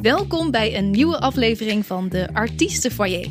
Welkom bij een nieuwe aflevering van de Artiestenfoyer.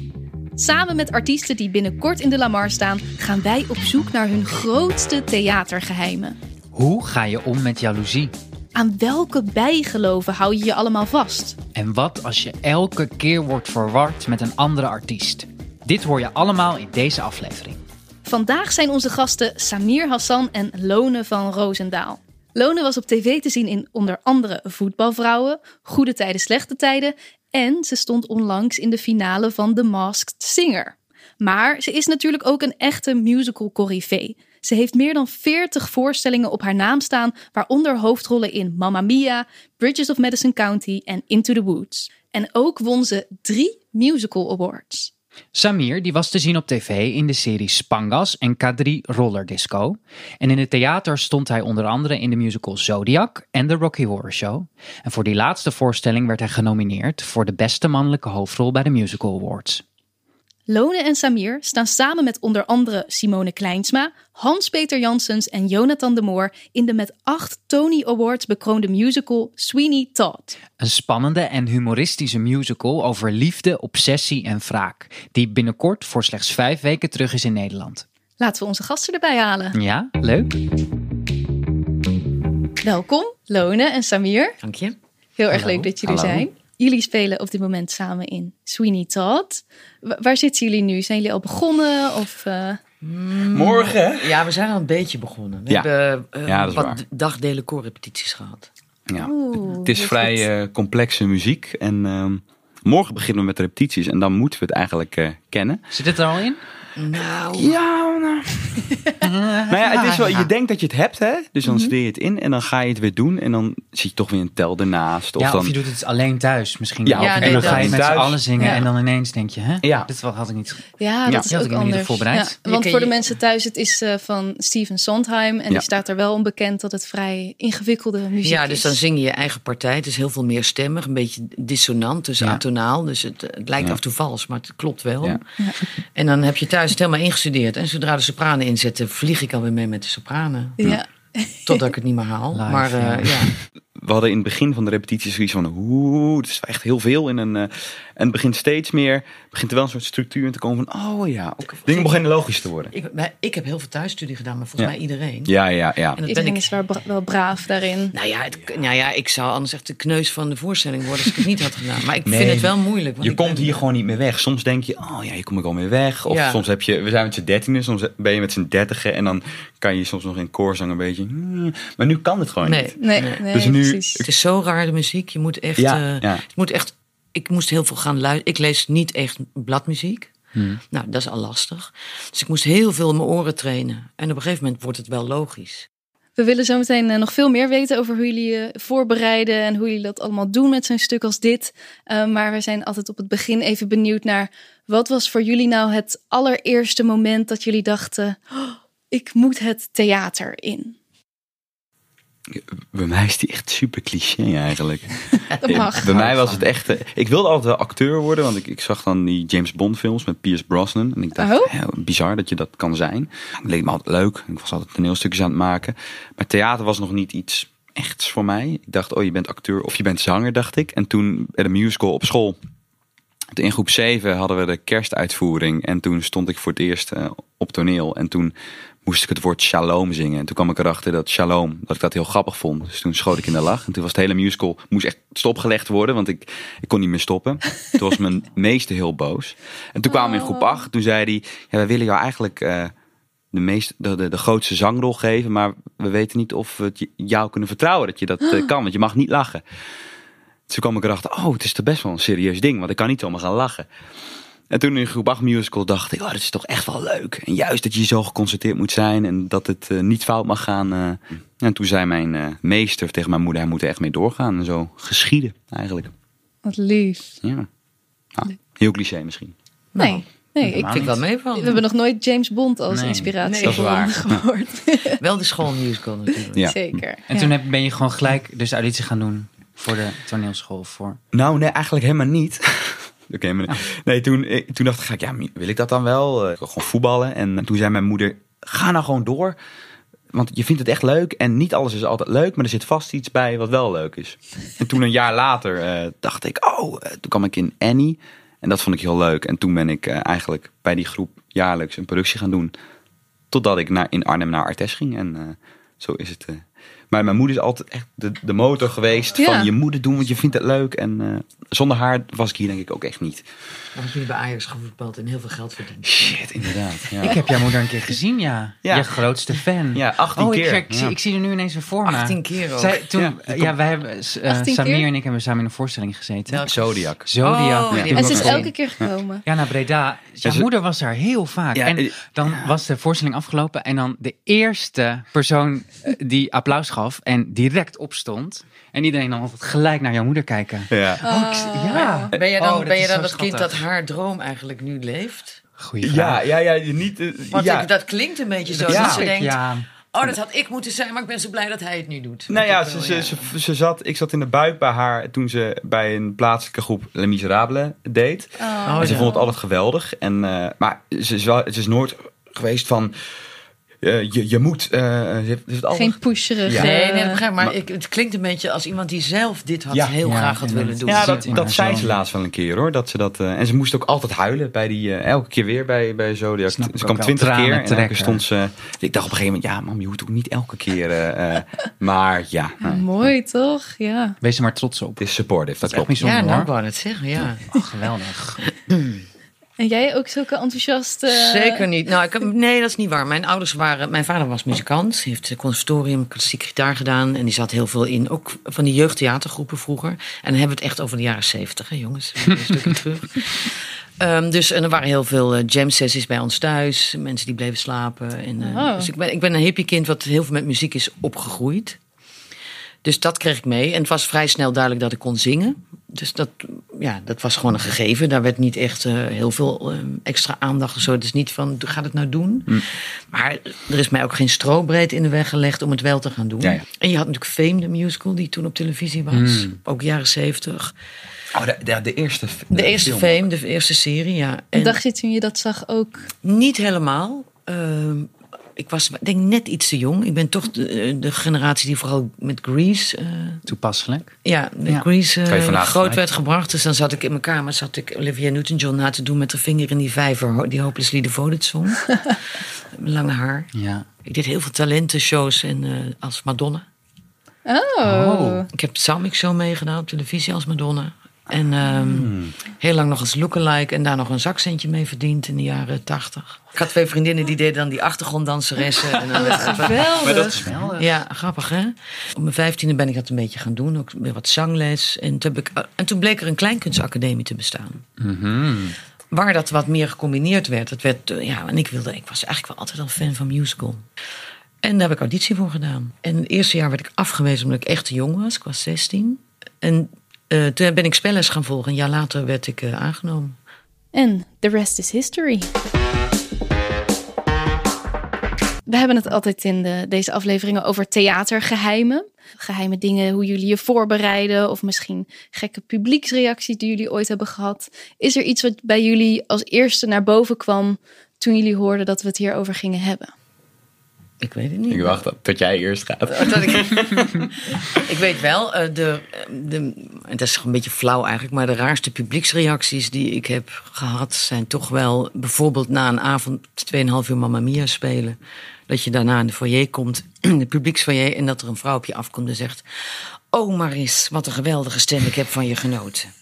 Samen met artiesten die binnenkort in de Lamar staan, gaan wij op zoek naar hun grootste theatergeheimen. Hoe ga je om met jaloezie? Aan welke bijgeloven hou je je allemaal vast? En wat als je elke keer wordt verward met een andere artiest? Dit hoor je allemaal in deze aflevering. Vandaag zijn onze gasten Samir Hassan en Lone van Roosendaal. Lone was op tv te zien in onder andere Voetbalvrouwen, Goede Tijden, Slechte Tijden en ze stond onlangs in de finale van The Masked Singer. Maar ze is natuurlijk ook een echte musical corrivee. Ze heeft meer dan 40 voorstellingen op haar naam staan, waaronder hoofdrollen in Mamma Mia, Bridges of Madison County en Into the Woods. En ook won ze drie musical awards. Samir die was te zien op tv in de serie Spangas en K3 Roller Disco. En in het theater stond hij onder andere in de musical Zodiac en de Rocky Horror Show. En voor die laatste voorstelling werd hij genomineerd voor de beste mannelijke hoofdrol bij de Musical Awards. Lone en Samir staan samen met onder andere Simone Kleinsma, Hans-Peter Janssens en Jonathan de Moor in de met acht Tony Awards bekroonde musical Sweeney Todd. Een spannende en humoristische musical over liefde, obsessie en wraak. Die binnenkort voor slechts vijf weken terug is in Nederland. Laten we onze gasten erbij halen. Ja, leuk. Welkom, Lone en Samir. Dank je. Heel erg Hallo. leuk dat jullie Hallo. zijn. Jullie spelen op dit moment samen in Sweeney Todd. Wa- waar zitten jullie nu? Zijn jullie al begonnen? Of, eh, Morgen, hè? Ja, we zijn al een beetje begonnen. We Ja. hebben eh, Ja, dat is wat waar. dagdelen koorrepetities gehad. Ja. Oeh, het is wat vrij goed. eh, complexe muziek. En ehm, morgen beginnen we met repetities. En dan moeten we het eigenlijk eh, kennen. Zit het er al in? Nou, Ja, nou. nou ja, het is wel, je denkt dat je het hebt, hè? Dus dan studeer je het in en dan ga je het weer doen. En dan zie je toch weer een tel ernaast. Of ja, dan... of je doet het alleen thuis misschien. Ja, wel. Ja, nee, en dan ga je dat. met z'n Thuis. allen zingen Ja. en dan ineens denk je, hè? Ja. Dit wat had ik niet. Ja, Ja. dat is Die had ook ik helemaal anders. niet voorbereid. Ja, want Je voor de kan je- mensen thuis, het is eh, van Steven Sondheim. En Ja. die staat er wel onbekend dat het vrij ingewikkelde muziek ja, is. dus dan zing je je eigen partij. Het is heel veel meer stemmig, een beetje dissonant, dus Ja. atonaal. Dus het, het lijkt Ja. af en toe vals, maar het klopt wel. Ja. En dan heb je thuis het helemaal ingestudeerd. En zodra de sopranen inzetten, vlieg ik alweer mee met de sopranen. Ja. Totdat ik het niet meer haal. Live, maar eh, ja. ja. We hadden in het begin van de repetities zoiets van... Oeh, het is echt heel veel. In een, eh, en het begint steeds meer... begint er wel een soort structuur in te komen van... Oh ja, oké. Dingen beginnen logisch te worden. Ik, maar ik heb heel veel thuisstudie gedaan, maar volgens Ja. mij iedereen. Ja, ja, ja. En dat ben Iedereen ik is wel, bra- wel braaf daarin. Nou ja, het, nou ja, ik zou anders echt de kneus van de voorstelling worden als ik het niet had gedaan. Maar ik vind het wel moeilijk. want Je ik ben- komt hier gewoon niet meer weg. Soms denk je, oh ja, hier kom ik al mee weg. Of Ja. soms heb je, we zijn met z'n dertienen, soms ben je met z'n dertigen. En dan kan je soms nog in koorzang een beetje. hmm, maar nu kan het gewoon Nee. niet. Nee, nee Dus nu- precies. Het is zo raar, de muziek. Je moet echt. Ja, eh, ja. Het moet echt ik moest heel veel gaan luisteren. Ik lees niet echt bladmuziek. Hmm. Nou, dat is al lastig. Dus ik moest heel veel mijn oren trainen. En op een gegeven moment wordt het wel logisch. We willen zo meteen eh, nog veel meer weten over hoe jullie je voorbereiden en hoe jullie dat allemaal doen met zo'n stuk als dit. Eh, maar we zijn altijd op het begin even benieuwd naar wat was voor jullie nou het allereerste moment dat jullie dachten: "Oh, ik moet het theater in. Bij mij is die echt super cliché eigenlijk. Dat mag. Bij mij was het echt... eh, Ik wilde altijd wel acteur worden. Want ik, ik zag dan die James Bond films met Pierce Brosnan. En ik dacht, Oh. hè, bizar dat je dat kan zijn. Het leek me altijd leuk. Ik was altijd toneelstukjes aan het maken. Maar theater was nog niet iets echts voor mij. Ik dacht, oh je bent acteur of je bent zanger, dacht ik. En toen bij de musical op school... In groep 7 hadden we de kerstuitvoering. En toen stond ik voor het eerst eh, op toneel. En toen moest ik het woord shalom zingen. En toen kwam ik erachter dat shalom, dat ik dat heel grappig vond. Dus toen schoot ik in de lach. En toen was het hele musical, moest echt stopgelegd worden. Want ik, ik kon niet meer stoppen. Toen was mijn meester heel boos. En toen kwamen we in groep 8. Toen zei hij, ja, wij willen jou eigenlijk... eh, de, meest, de, de, de grootste zangrol geven, maar we weten niet of we het je- jou kunnen vertrouwen dat je dat eh, kan, want je mag niet lachen. Toen kwam ik erachter, oh, het is toch best wel een serieus ding, want ik kan niet zomaar gaan lachen. En toen in groep 8 musical dacht ik, oh, dat is toch echt wel leuk. En juist dat je zo geconcentreerd moet zijn en dat het eh, niet fout mag gaan. eh. En toen zei mijn eh, meester tegen mijn moeder, hij moet er echt mee doorgaan. En zo geschieden eigenlijk. Wat lief. Ja. Nou, heel cliché misschien. Nee, nee ik, Ik vind wel mee we van. hebben nog nooit James Bond als Nee, inspiratie dat is gehoord. waar. gehoord. Wel de schoolmusical natuurlijk. Ja. Zeker. En toen heb- ben je gewoon gelijk dus auditie gaan doen voor de toneelschool. Voor. Nou, nee, eigenlijk helemaal niet. Oké, maar nee, toen, eh, toen dacht ik, eh, ga ik, ja, wil ik dat dan wel? Eh, Ik wil gewoon voetballen. En toen zei mijn moeder, ga nou gewoon door. Want je vindt het echt leuk en niet alles is altijd leuk, maar er zit vast iets bij wat wel leuk is. En toen een jaar later eh, dacht ik, oh, eh, toen kwam ik in Annie en dat vond ik heel leuk. En toen ben ik eh, eigenlijk bij die groep jaarlijks een productie gaan doen, totdat ik naar, in Arnhem naar Artes ging. En eh, zo is het. eh. Maar mijn moeder is altijd echt de, de motor geweest Ja. van je moet het doen, want je vindt het leuk. En eh, zonder haar was ik hier denk ik ook echt niet. Dan heb je bij Ajax gevoetbald en heel veel geld verdiend. Shit, inderdaad. Ja. Ik heb jouw moeder een keer gezien, ja. Ja. Je grootste fan. Ja, 18 oh, ik- keer. Ik, ik, zie, Ja. ik zie er nu ineens een voor me. 18 keer ook. Zij, toen, Ja, ja, wij hebben, eh, 18 Samir keer? en ik hebben samen in een voorstelling gezeten. Welke? Zodiac. Zodiac. Oh, ja. Die En heb ze ik is dus ook elke gezien. keer gekomen. Ja, naar Breda. Jouw ze- moeder was daar heel vaak. Ja, en eh, dan was de voorstelling afgelopen. En dan de eerste persoon eh, die applaus gaf en direct opstond. En iedereen dan altijd gelijk naar jouw moeder kijken. Ja. Oh, ik zie- ja. Ben je dan, Oh, dat ben je is dan zo dat kind dat schattig. haar droom eigenlijk nu leeft? Goeie Ja, vraag. dus ja, ja, je niet. eh, Want ja. ik- dat klinkt een beetje zo. Ja. Dat ze Ja. denkt, Ja. oh dat had ik moeten zijn, maar ik ben zo blij dat hij het nu doet. Nou Ik ja, heb wel, ze, ze, ze, ze zat, ik zat in de buik bij haar toen ze bij een plaatselijke groep Les Miserables deed. Oh. en ze ja. vond het altijd geweldig. En, eh, maar ze is, wel, ze is nooit geweest van, eh, je, je moet... eh, ze heeft, ze heeft altijd- Geen pusherig. oh. Ja. Nee, eh, nee, dat begrijp ik. Maar, Maar- ik, het klinkt een beetje als iemand die zelf dit had Ja. heel Ja, graag had en willen dat- doen. ja, zit dat, in haar dat zei zo. ze laatst wel een keer hoor. Dat ze dat, eh, en ze moest ook altijd huilen bij die, eh, elke keer weer bij, bij Zodiac. Snap ik Ze ook kwam wel. twintig Tranen keer en elke keer trekken. stond ze... Ik dacht op een gegeven moment, ja mam, je hoeft ook niet elke keer... eh, eh, maar ja, ja, eh, Ah, Mooi toch? Ja. Wees er maar trots op. het is supportive, dat Dat is echt klopt. bijzonder ja, nou, ik hoor. wou het zeggen, ja. Oh, geweldig. En jij ook zulke enthousiaste. Zeker niet. Nou, ik heb, nee, dat is niet waar. Mijn ouders waren. Mijn vader was muzikant. Heeft het conservatorium klassiek gitaar gedaan. En die zat heel veel in. Ook van die jeugdtheatergroepen vroeger. En dan hebben we het echt over de jaren zeventig, hè, jongens. Een stukje terug. Ehm, dus en er waren heel veel eh, jam sessies bij ons thuis. Mensen die bleven slapen. En, eh, Oh. Dus ik ben, ik ben een hippie kind wat heel veel met muziek is opgegroeid. Dus dat kreeg ik mee. En het was vrij snel duidelijk dat ik kon zingen. Dus dat, ja, dat was gewoon een gegeven. Daar werd niet echt eh, heel veel eh, extra aandacht of zo. Het is niet van, ga het nou doen. Mm. Maar er is mij ook geen strobreed in de weg gelegd om het wel te gaan doen. Ja, Mm. ja. En je had natuurlijk Fame, de musical, die toen op televisie was. Ook jaren zeventig. Oh, de, de, de eerste f- De eerste film. Fame, de eerste serie, ja. En dacht je toen je dat zag ook? Niet helemaal. Ehm, ik was ik denk net iets te jong. Ik ben toch de, de generatie die vooral met Grease... eh, Toepasselijk. ja, met Ja. Grease eh, Kan je vanavond groot gelijk. werd gebracht. Dus dan zat ik in mijn kamer, zat ik Olivia Newton-John na te doen... met haar vinger in die vijver, ho- die Hopelessly Devoted song. Mijn Lange haar. Ja. Ik deed heel veel talentenshows en, eh, als Madonna. Oh. Oh. Ik heb Samik Show meegedaan op televisie als Madonna. En ehm, Hmm. heel lang nog als lookalike en daar nog een zakcentje mee verdiend in de jaren tachtig. Ik had twee vriendinnen die deden dan die achtergronddanseressen. En dan werd het- Geweldig. Maar dat is ja, grappig hè. Op mijn vijftiende ben ik dat een beetje gaan doen. Ook weer wat zangles. En toen, heb ik, eh, en toen bleek er een kleinkunstacademie te bestaan. Waar dat wat meer gecombineerd werd. Dat werd eh, ja, en ik, wilde, ik was eigenlijk wel altijd al fan van musical. En daar heb ik auditie voor gedaan. En het eerste jaar werd ik afgewezen omdat ik echt te jong was. Ik was 16. En eh, toen ben ik spelles gaan volgen. Een jaar later werd ik eh, aangenomen. En the rest is history. We hebben het altijd in de, deze afleveringen over theatergeheimen. Geheime dingen, hoe jullie je voorbereiden. Of misschien gekke publieksreacties die jullie ooit hebben gehad. Is er iets wat bij jullie als eerste naar boven kwam toen jullie hoorden dat we het hierover gingen hebben? Ik weet het niet. Ik wacht op tot jij eerst gaat. Dat ik, ik weet wel, eh, de, de, het is een beetje flauw eigenlijk, maar de raarste publieksreacties die ik heb gehad zijn toch wel bijvoorbeeld na een avond 2,5 uur Mamma Mia spelen. Dat je daarna in de foyer komt, in de publieksfoyer, en dat er een vrouw op je afkomt en zegt: Oh Maris, wat een geweldige stem, ik heb van je genoten.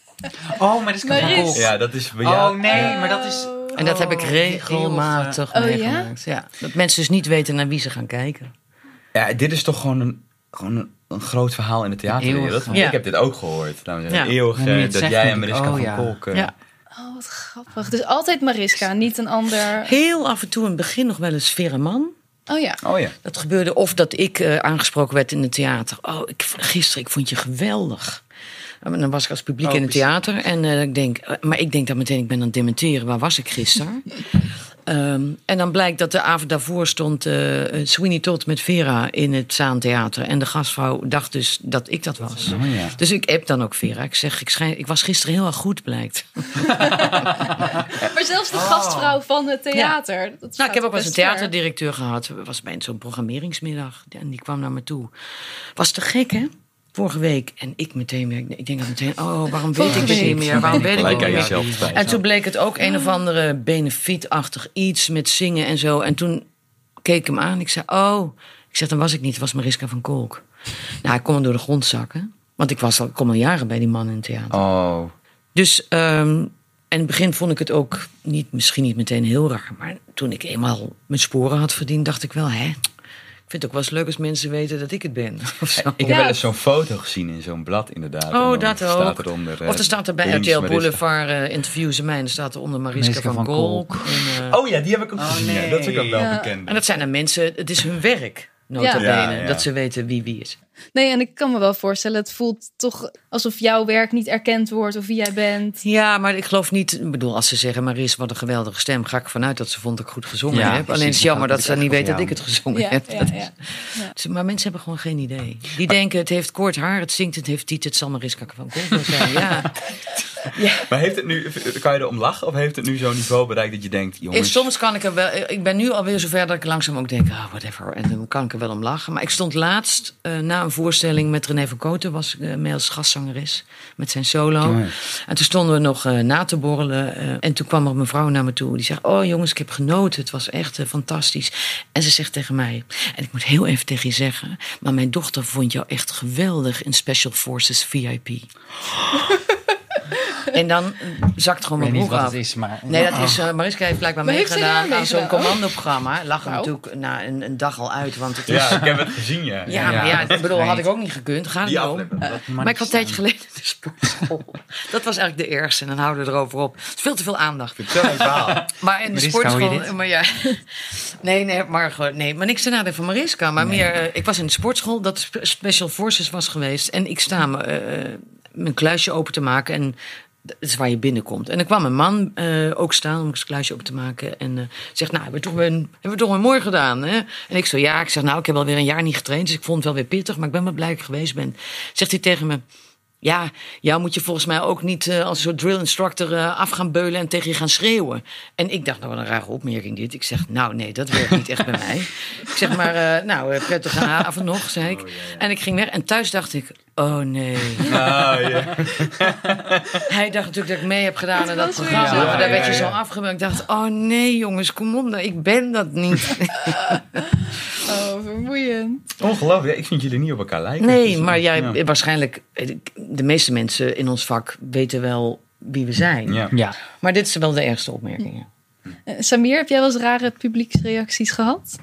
Oh, maar dat is Maris. kapot. Ja, dat is bij Oh jou. nee, maar dat is... En dat heb ik Oh, die eeuwige- regelmatig Oh, ja? meegemaakt. Ja? dat mensen dus niet weten naar wie ze gaan kijken. Ja, dit is toch gewoon een, gewoon een, een groot verhaal in de theaterwereld. Eeuwig. Want Ja. Ik heb dit ook gehoord. dames en heren. Ja. Eeuwig Maar nu je eh, het dat zegt, jij denk en ik, Mariska oh, van ja. Kolk... eh, Ja. Oh, wat grappig. Dus altijd Mariska, niet een ander. Heel af en toe in het begin nog wel eens Vera Man. Oh ja. Oh ja. Dat gebeurde of dat ik eh, aangesproken werd in het theater. Oh, ik, gisteren, ik vond je geweldig. En dan was ik als publiek in het theater. En eh, ik denk, eh, maar ik denk dan meteen, ik ben aan het dementeren. Waar was ik gisteren? Ehm, en dan blijkt dat de avond daarvoor stond eh, Sweeney Todd met Vera in het Zaantheater. En de gastvrouw dacht dus dat ik dat was. Oh ja. Dus ik app dan ook Vera. Ik zeg, ik, schijn, ik was gisteren heel erg goed, blijkt. Maar zelfs de gastvrouw van het theater. dat Oh. Nou, gaat ik heb ook wel eens best een ver. theaterdirecteur gehad. was bij zo'n programmeringsmiddag. En die kwam naar me toe. Was te gek, hè? Vorige week. En ik meteen weer. Ik denk dat meteen. Oh, waarom weet Vorige ik het week. niet meer? Waarom weet ik het Gelijk niet aan meer? jezelf twijfelen. En toen bleek het ook een of andere benefietachtig iets met zingen en zo. En toen keek ik hem aan. Ik zei, oh. Ik zeg, dan was ik niet. Het was Mariska van Kolk. Nou, ik kon hem door de grond zakken. Want ik, was al, ik kom al jaren bij die man in het theater. Oh, Dus ehm, en in het begin vond ik het ook niet, misschien niet meteen heel raar. Maar toen ik eenmaal mijn sporen had verdiend, dacht ik wel, hè. Ik vind het ook wel eens leuk als mensen weten dat ik het ben. Of zo. Ja. ik heb wel eens zo'n foto gezien in zo'n blad inderdaad. En Oh, dan dat staat ook. Eronder, eh, of er staat er bij links RTL Mariska. Boulevard eh interviews en mij. En er staat er onder Mariska, Mariska van, van Kolk. Kolk. En, eh, Oh ja, die heb ik ook gezien. nee. Ja, dat is ook wel Ja. bekend. en dat zijn dan mensen, het is hun werk, nota Ja. bene, Ja, ja. Dat ze weten wie wie is. Nee, en ik kan me wel voorstellen, het voelt toch alsof jouw werk niet erkend wordt of wie jij bent. Ja, maar ik geloof niet. Ik bedoel, als ze zeggen, Maris, wat een geweldige stem. Ga ik vanuit dat ze vond dat ik goed gezongen Ja, heb. Alleen precies, het is jammer dat dat ze heb ik niet weet dat ik eigenlijk het gezongen Ja, heb. ja, Dat is- ja. Ze- Maar mensen hebben gewoon geen idee. Die denken, het heeft kort haar, het zingt, het heeft tiet, het zal Mariska van Kolk zijn. Ja. Maar heeft het nu, kan je erom lachen? Of heeft het nu zo'n niveau bereikt dat je denkt, En jongens... soms kan ik er wel... Ik ben nu alweer zover dat ik langzaam ook denk, ah, whatever. En dan kan ik er wel om lachen. Maar ik stond laatst eh, na een voorstelling met René van Koten. Was eh, mee als gastzangeres met zijn solo. En toen stonden we nog eh, na te borrelen. eh, en toen kwam er een mevrouw naar me toe. Die zegt, oh jongens, ik heb genoten. Het was echt eh, fantastisch. En ze zegt tegen mij... En ik moet heel even tegen je zeggen... Maar mijn dochter vond jou echt geweldig in Special Forces VIP. en dan eh, zakt gewoon Ik mijn weet niet broek wat af. het is, maar... Nee, dat is, Ah. eh, Mariska heeft blijkbaar Maar heeft zij meegedaan daar aan zo'n meegedaan? commandoprogramma. Lag er Oh. Nou. natuurlijk na een, een dag al uit, want het is... Ja, Ja, ik heb het gezien, ja. maar ja, Ja, ik bedoel, had right. ik ook niet gekund. Gaat Die het om. aflevering. Eh, maar ik had een tijdje geleden de sportschool. Dat was eigenlijk de eerste en dan houden we erover op. Het is veel te veel aandacht. Vertel een verhaal. Maar in de Mariska, hoor je sportschool... dit? Maar ja. Nee, nee, maar, gewoon- nee, maar niks te nadeel van Mariska. Maar meer, eh, ik was in de sportschool dat spe- Special Forces was geweest. En ik sta me, eh, mijn kluisje open te maken en... Dat is waar je binnenkomt. En er kwam een man eh, ook staan om eens een kluisje open te maken. En eh, zegt, nou, hebben we, toch weer een, hebben we toch weer mooi gedaan, hè? En ik zo, ja. Ik zeg, nou, ik heb alweer een jaar niet getraind. Dus ik vond het wel weer pittig. Maar ik ben wel blij dat ik geweest ben. Zegt hij tegen me, ja, jou moet je volgens mij ook niet eh, als een soort drill instructor eh, af gaan beulen en tegen je gaan schreeuwen. En ik dacht, nou wat een rare opmerking dit. Ik zeg, nou nee, dat werkt niet echt bij mij. Ik zeg maar, eh, nou, eh, prettige avond nog, zei Oh, ik. En ik ging weg en thuis dacht ik, oh nee. Ah, ja. Hij dacht natuurlijk dat ik mee heb gedaan aan dat was weer programma. zo. maar daar Ja, werd ja, je zo ja. afgemerkt. Ik dacht, oh nee jongens, kom op, nou, ik ben dat niet. Oh, vermoeiend. Ongelooflijk, ja, ik vind jullie niet op elkaar lijken. Nee, Dus, maar jij, Ja. waarschijnlijk, eh, de meeste mensen in ons vak weten wel wie we zijn. Ja. Ja, Maar dit is wel de ergste opmerking, ja. Eh, Samir, heb jij wel eens rare publieksreacties gehad?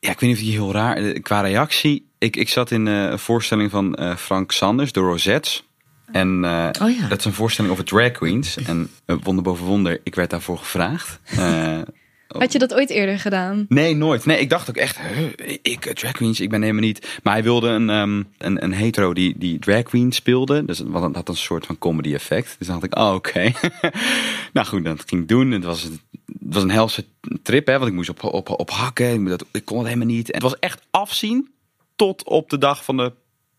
Ja, ik weet niet of die heel raar... eh, Qua reactie, ik, ik zat in eh, een voorstelling van eh, Frank Sanders, de Rosettes. En eh, Oh ja. dat is een voorstelling over drag queens. En eh, wonder boven wonder, ik werd daarvoor gevraagd. Eh, Oh. Had je dat ooit eerder gedaan? Nee, nooit. Nee, ik dacht ook echt, huh, ik, eh, drag queens, ik ben helemaal niet. Maar hij wilde een, ehm, een, een hetero die, die drag queen speelde. Dus dat had een soort van comedy effect. Dus dan dacht ik, oh, oké. nou goed, dat ging ik doen. Het was, het was een helse trip, hè, want ik moest op, op, op hakken. Ik, dat, ik kon het helemaal niet. En het was echt afzien tot op de dag van de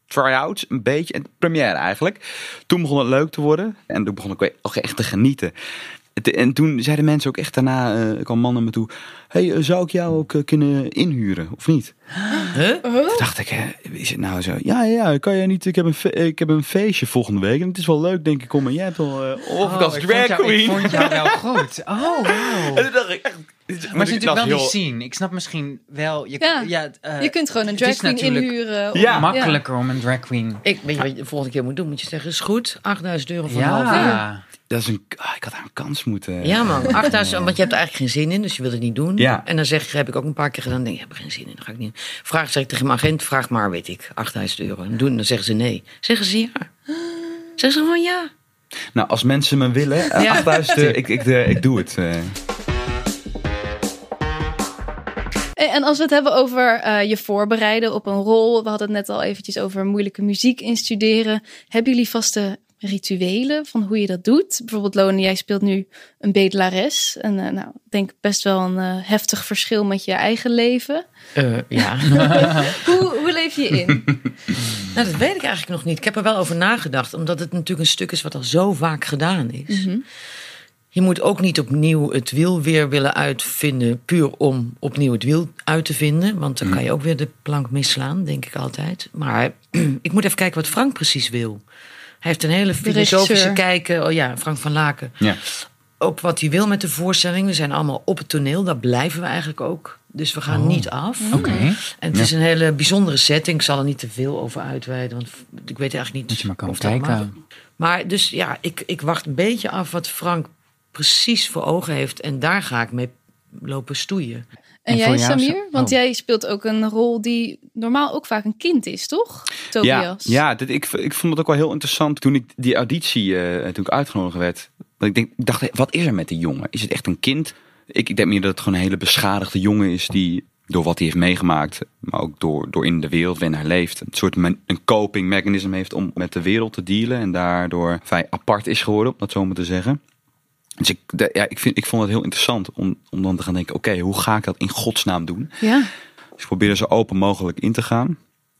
try-outs, een beetje. En de première eigenlijk. Toen begon het leuk te worden. En toen begon ik weer- ook echt te genieten. Het- En toen zeiden mensen ook echt daarna, eh kwam mannen me toe... hey, eh, zou ik jou ook eh, kunnen inhuren, of niet? Huh? Toen dacht ik, hè, is het nou zo? Ja, ja, ja, kan jij niet? Ik heb, een fe- ik heb een feestje volgende week en het is wel leuk, denk ik. Kom, maar jij hebt al... eh of ik als Oh, ik vond drag jou- Ik queen. vond jou wel goed. Oh, wow. En toen dacht ik echt... dit- Maar het is dat natuurlijk wel die heel- scene. Ik snap misschien wel... Je, Ja. ja. eh, je kunt gewoon een het drag is queen natuurlijk inhuren. om- Ja. makkelijker om een drag queen... Ik, weet je wat je de volgende keer moet doen? Moet je zeggen, is goed, 8000 euro voor een half uur. Ja. Dat is een... ah, ik had daar een kans moeten... eh, Ja man, 8000, want je hebt er eigenlijk geen zin in, dus je wilt het niet doen. Ja. En dan zeg je, heb ik ook een paar keer gedaan, denk ik, heb er geen zin in, dat ga ik niet. doen. Vraag zeg ik tegen mijn agent, vraag maar, weet ik, 8000 euro. En doen, dan zeggen ze nee. Zeggen ze ja. Zeggen ze gewoon ja. Nou, als mensen me willen, eh, Ja. 8000 euro, ik, ik, eh, ik doe het. eh. Eh, En als we het hebben over eh, je voorbereiden op een rol. We hadden het net al eventjes over moeilijke muziek instuderen. Hebben jullie vaste rituelen van hoe je dat doet? Bijvoorbeeld Lone, jij speelt nu een bedelares. En eh, nou, ik denk best wel een eh, heftig verschil met je eigen leven. Eh, ja. Hoe, hoe leef je in? Nou, dat weet ik eigenlijk nog niet. Ik heb er wel over nagedacht, omdat het natuurlijk een stuk is wat al zo vaak gedaan is. Je moet ook niet opnieuw het wiel weer willen uitvinden, puur om opnieuw het wiel uit te vinden. Want dan kan je ook weer de plank misslaan, denk ik altijd. Maar ik moet even kijken wat Frank precies wil. Hij heeft een hele filosofische regisseur. kijken. Oh ja, Frank van Laken Ja. ook wat hij wil met de voorstelling. We zijn allemaal op het toneel, daar blijven we eigenlijk ook. Dus we gaan niet af. Oké. En het is een hele bijzondere setting. Ik zal er niet te veel over uitweiden, want ik weet eigenlijk niet Dat je maar kan of dat kijken. mag. Maar dus ja, ik, ik wacht een beetje af wat Frank precies voor ogen heeft. En daar ga ik mee lopen stoeien. En, En jij, voor jou, Samir? Sa- Want oh. jij speelt ook een rol die normaal ook vaak een kind is, toch? Ja, Tobias. ja dit, ik, ik vond het ook wel heel interessant toen ik die auditie, eh, toen ik uitgenodigd werd. Dat ik, denk, ik dacht, hé, wat is er met die jongen? Is het echt een kind? Ik, ik denk meer dat het gewoon een hele beschadigde jongen is die door wat hij heeft meegemaakt, maar ook door, door in de wereld waarin hij leeft, een soort men- een coping mechanism heeft om met de wereld te dealen en daardoor vrij apart is geworden, om dat zo maar te zeggen. Dus ik, de- ja, ik, vind, ik vond het heel interessant om, om dan te gaan denken, oké, hoe ga ik dat in godsnaam doen? Ja. Dus ik probeerde zo open mogelijk in te gaan.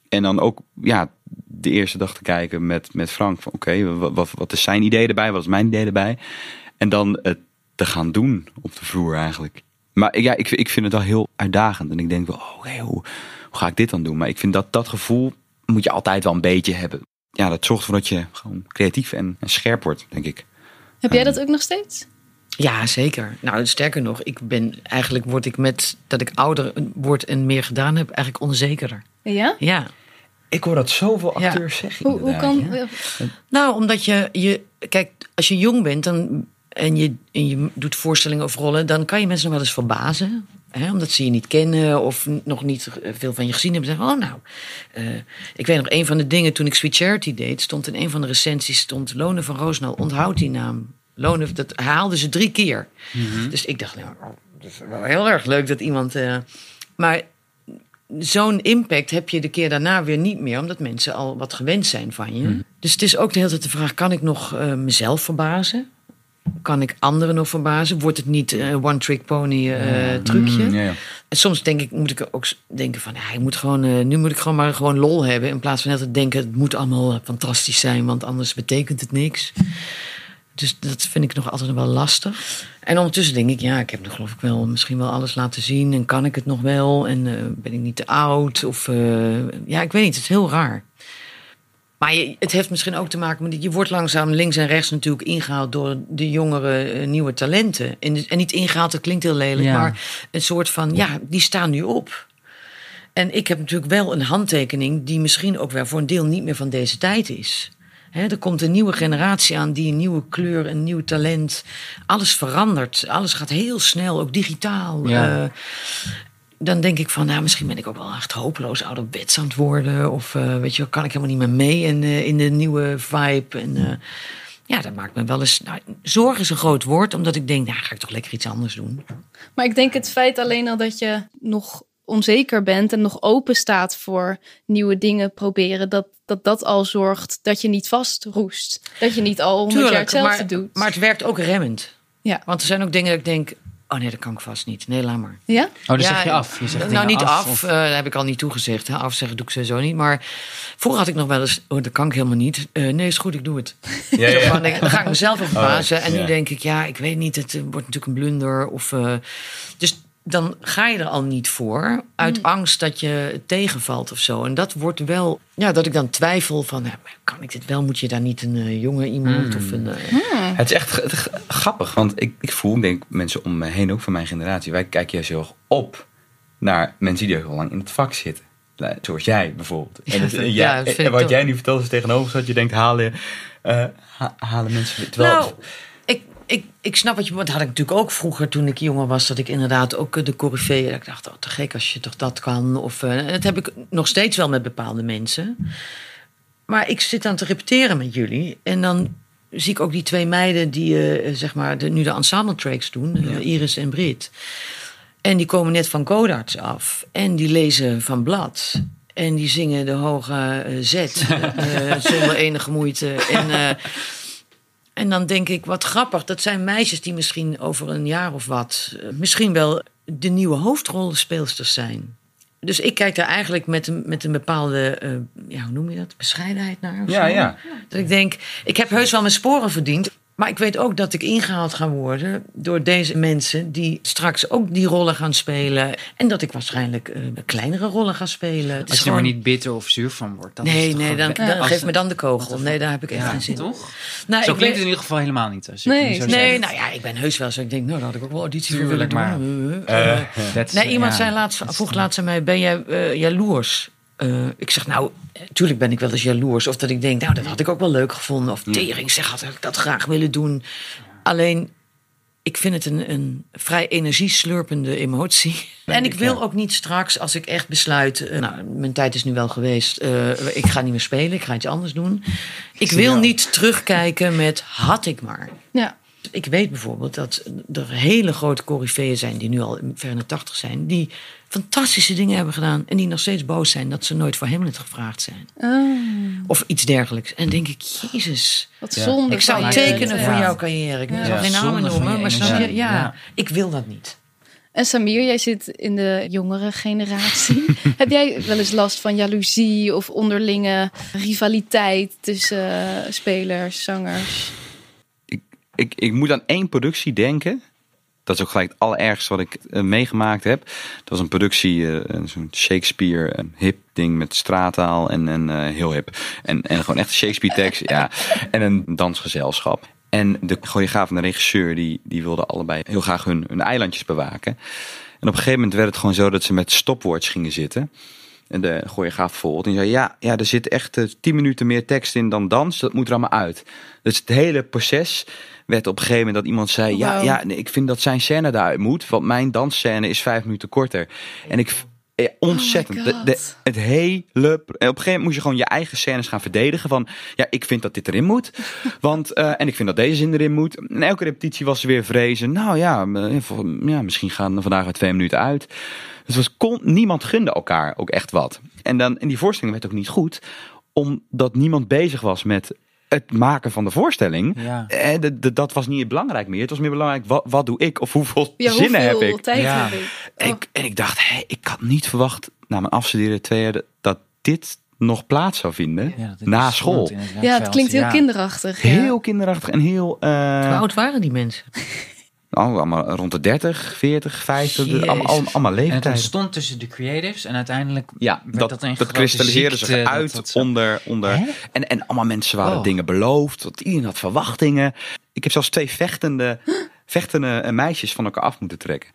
En dan ook ja, de eerste dag te kijken met, met Frank. van Oké, wa- wat, wat is zijn idee erbij? Wat is mijn idee erbij? En dan het te gaan doen op de vloer eigenlijk. Maar ja, ik, ik vind het wel heel uitdagend. En ik denk wel, oh, oké, hoe, hoe ga ik dit dan doen? Maar ik vind dat dat gevoel moet je altijd wel een beetje hebben. Ja, dat zorgt ervoor dat je gewoon creatief en, en scherp wordt, denk ik. Heb jij dat ook nog steeds? Ja, zeker. Nou, sterker nog, ik ben, eigenlijk word ik met dat ik ouder word en meer gedaan heb, eigenlijk onzekerder. Ja? Ja. Ik hoor dat zoveel Ja. acteurs zeggen. Hoe, hoe kan... inderdaad, ja. eh, Nou, omdat je, je kijk, als je jong bent dan, en, je, en je doet voorstellingen of rollen, dan kan je mensen nog wel eens verbazen. Hè, omdat ze je niet kennen of n- nog niet eh, veel van je gezien hebben. Zeggen, oh nou, eh, ik weet nog, een van de dingen toen ik Sweet Charity deed, stond in een van de recensies, stond Lone van Roosnal, onthoud die naam. Lone, dat haalden ze drie keer. Dus ik dacht, nou, dat is wel heel erg leuk dat iemand... eh, maar zo'n impact heb je de keer daarna weer niet meer, omdat mensen al wat gewend zijn van je. Dus het is ook de hele tijd de vraag: kan ik nog eh, mezelf verbazen? Kan ik anderen nog verbazen? Wordt het niet eh, one-trick pony eh, trucje? Mm, Ja, ja. En soms denk ik, moet ik ook s- denken van, hij moet gewoon, eh, nu moet ik gewoon maar gewoon lol hebben. In plaats van altijd denken, het moet allemaal eh, fantastisch zijn, want anders betekent het niks. Dus dat vind ik nog altijd wel lastig. En ondertussen denk ik, ja, ik heb nog geloof ik wel misschien wel alles laten zien. En kan ik het nog wel? En eh, ben ik niet te oud? Of eh, ja, ik weet niet, het is heel raar. Maar je- het heeft misschien ook te maken met... je wordt langzaam links en rechts natuurlijk ingehaald... door de jongere eh, nieuwe talenten. En, en niet ingehaald, dat klinkt heel lelijk... Ja. maar een soort van, ja, die staan nu op. En ik heb natuurlijk wel een handtekening... die misschien ook wel voor een deel niet meer van deze tijd is. Hè, er komt een nieuwe generatie aan die een nieuwe kleur, een nieuw talent... alles verandert, alles gaat heel snel, ook digitaal... Ja. eh, dan denk ik van, nou, misschien ben ik ook wel echt hopeloos ouderwets aan het worden. Of eh, weet je, wel, kan ik helemaal niet meer mee in, eh, in de nieuwe vibe. En eh, ja, dat maakt me wel eens. Nou, zorg is een groot woord, omdat ik denk, nou, ga ik toch lekker iets anders doen. Maar ik denk het feit alleen al dat je nog onzeker bent en nog open staat voor nieuwe dingen proberen, dat dat, dat al zorgt dat je niet vastroest. Dat je niet al honderd jaar hetzelfde maar, doet. maar het werkt ook remmend. Ja. Want er zijn ook dingen dat ik denk, oh nee, dat kan ik vast niet. Nee, laat maar. ja? Oh, dan Ja, zeg je af. Je zegt nou, dingen niet af. of- eh, dat heb ik al niet toegezegd. Hè. Afzeggen doe ik sowieso niet. Maar vroeger had ik nog wel eens... Oh, dat kan ik helemaal niet. Eh, nee, is goed, ik doe het. Zo van, ik- dan ga ik mezelf Oh, op verbazen. en nu ja. denk ik, ja, ik weet niet. Het eh, wordt natuurlijk een blunder. Of, eh, dus dan ga je er al niet voor. Uit angst dat je tegenvalt of zo. En dat wordt wel... Ja, dat ik dan twijfel van... ja, maar kan ik dit wel? Moet je daar niet een eh, jonge iemand Hmm. of een... eh, Het is echt g- g- grappig, want ik, ik voel, denk ik, mensen om me heen, ook van mijn generatie, wij kijken juist heel erg op naar mensen die heel lang in het vak zitten. Nou, Zoals jij bijvoorbeeld. En, het- dat- en ja, jij- dat vind en ik wat toch. jij nu vertelt is tegenover dat je denkt, halen, eh, ha- halen mensen... Terwijl, Nou, ik, ik, ik snap wat je... Want dat had ik natuurlijk ook vroeger toen ik jonger was... dat ik inderdaad ook eh, de coryfeeën... dat ik dacht, oh, te gek als je toch dat kan. Of, eh, dat heb ik nog steeds wel met bepaalde mensen. Maar ik zit aan te repeteren met jullie. En dan zie ik ook die twee meiden die eh, zeg maar de, nu de ensemble tracks doen. eh, Iris en Brit. En die komen net van Codarts af. En die lezen van Blad. En die zingen de hoge eh, Z eh, zonder enige moeite. En, eh, en dan denk ik, wat grappig, dat zijn meisjes die misschien over een jaar of wat... eh, misschien wel de nieuwe hoofdrolspeelsters zijn. Dus ik kijk daar eigenlijk met een, met een bepaalde, eh, ja, hoe noem je dat, bescheidenheid naar. of Ja, zo. ja. Dat ik denk, ik heb heus wel mijn sporen verdiend. Maar ik weet ook dat ik ingehaald ga worden door deze mensen die straks ook die rollen gaan spelen. En dat ik waarschijnlijk eh, kleinere rollen ga spelen. Het Als is je er maar gewoon- niet bitter of zuur van wordt. Dan is Nee, het nee, dan, toch ook- dan Als- geef me dan de kogel. Nee, daar heb ik echt Ja, geen zin in. toch? Nou, Zo ik klinkt het ben- in ieder geval helemaal niet. Als je Nee, het nu zo nee, Nee, zegt. nou ja, ik ben heus wel zo. Ik denk, nou, daar had ik ook wel auditie voor willen Tuurlijk, maar- doen. Eh, That's- Nee, iemand ja. zei laatst, vroeg laatst aan mij, ben jij eh, jaloers? Eh, ik zeg, nou, eh, tuurlijk ben ik wel eens jaloers. Of dat ik denk, nou, dat had ik ook wel leuk gevonden. Of tering, zeg, had ik dat graag willen doen. Alleen, ik vind het een, een vrij energieslurpende emotie. en ik wil ook niet straks, als ik echt besluit... eh, nou, mijn tijd is nu wel geweest. eh, ik ga niet meer spelen, ik ga iets anders doen. Ik wil niet terugkijken met had ik maar. Ja. Ik weet bijvoorbeeld dat er hele grote coryfeeën zijn... die nu al ver in de tachtig zijn... die fantastische dingen hebben gedaan... en die nog steeds boos zijn dat ze nooit voor Hamlet gevraagd zijn. Oh, Of iets dergelijks. En denk ik, jezus... wat zonde. Ik zou van je. tekenen voor Ja. jouw carrière. Ik Ja. zal geen Ja, namen zonde van je noemen, maar snap je? energie. Ja, Ja. ik wil dat niet. En Samir, jij zit in de jongere generatie. Heb jij wel eens last van jaloezie of onderlinge rivaliteit tussen eh, spelers, zangers? ik, ik moet aan één productie denken. Dat is ook gelijk het allerergste wat ik eh, meegemaakt heb. Dat was een productie, eh, een zo'n Shakespeare een hip ding met straattaal en, en eh, heel hip. En, en gewoon echt Shakespeare tekst, ja. En een dansgezelschap. En de choreograaf en de regisseur, die, die wilden allebei heel graag hun, hun eilandjes bewaken. En op een gegeven moment werd het gewoon zo dat ze met stopwatch gingen zitten. En de choreograaf bijvoorbeeld. En die zei, ja, ja, er zit echt eh, tien 10 minuten meer tekst in dan dans. Dat moet er allemaal uit. Dus het hele proces werd op een gegeven moment dat iemand zei... Ja, Wauw. ja nee, ik vind dat zijn scène daaruit moet. Want mijn dansscène is vijf minuten korter. En ik... eh, Ontzettend. Oh my De- de- God. het hele... En op een gegeven moment moest je gewoon je eigen scènes gaan verdedigen. Van, ja, ik vind dat dit erin moet. Want, eh, en ik vind dat deze zin erin moet. En elke repetitie was weer vrezen. Nou ja, eh, vol- ja misschien gaan er vandaag er twee minuten uit. Dus het was, kon, niemand gunde elkaar ook echt wat. En, dan, en die voorstelling werd ook niet goed. Omdat niemand bezig was met het maken van de voorstelling. Ja. Eh, d- d- dat was niet belangrijk meer. Het was meer belangrijk, wat, wat doe ik? Of hoeveel Ja, zinnen heb hoeveel ik? tijd Ja. heb ik? En Oh, ik, en ik dacht, hé, ik had niet verwacht na mijn afstuderen twee jaar dat- dat dit nog plaats zou vinden Ja, dat is na spannend school. in het ja, het klinkt heel ja. kinderachtig. ja. Heel kinderachtig en heel. eh, Hoe oud waren die mensen? nou, allemaal rond de 30, 40, 50, de- allemaal, allemaal, allemaal En het leeftijd. ontstond tussen de creatives en uiteindelijk Ja, werd dat, dat dat, een grote kristalliseerde ziekte, zich dat uit dat zo- onder. onder Hè? en, en allemaal mensen waren Oh. dingen beloofd. Want iedereen had verwachtingen. Ik heb zelfs twee vechtende, vechtende eh, meisjes van elkaar af moeten trekken.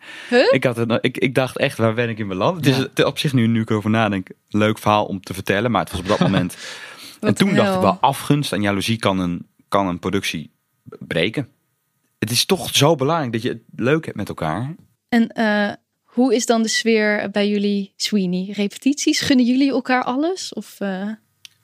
Ik, had het, ik, ik dacht echt, waar ben ik in beland? Het is het- op zich nu, nu ik erover nadenk, een leuk verhaal om te vertellen. Maar het was op dat moment... en Wat toen dacht ik hel. wel, afgunst en jaloezie kan een, kan een productie b- breken. Het is toch zo belangrijk dat je het leuk hebt met elkaar. En eh, hoe is dan de sfeer bij jullie, Sweeney? Repetities? Gunnen jullie elkaar alles? Of, eh,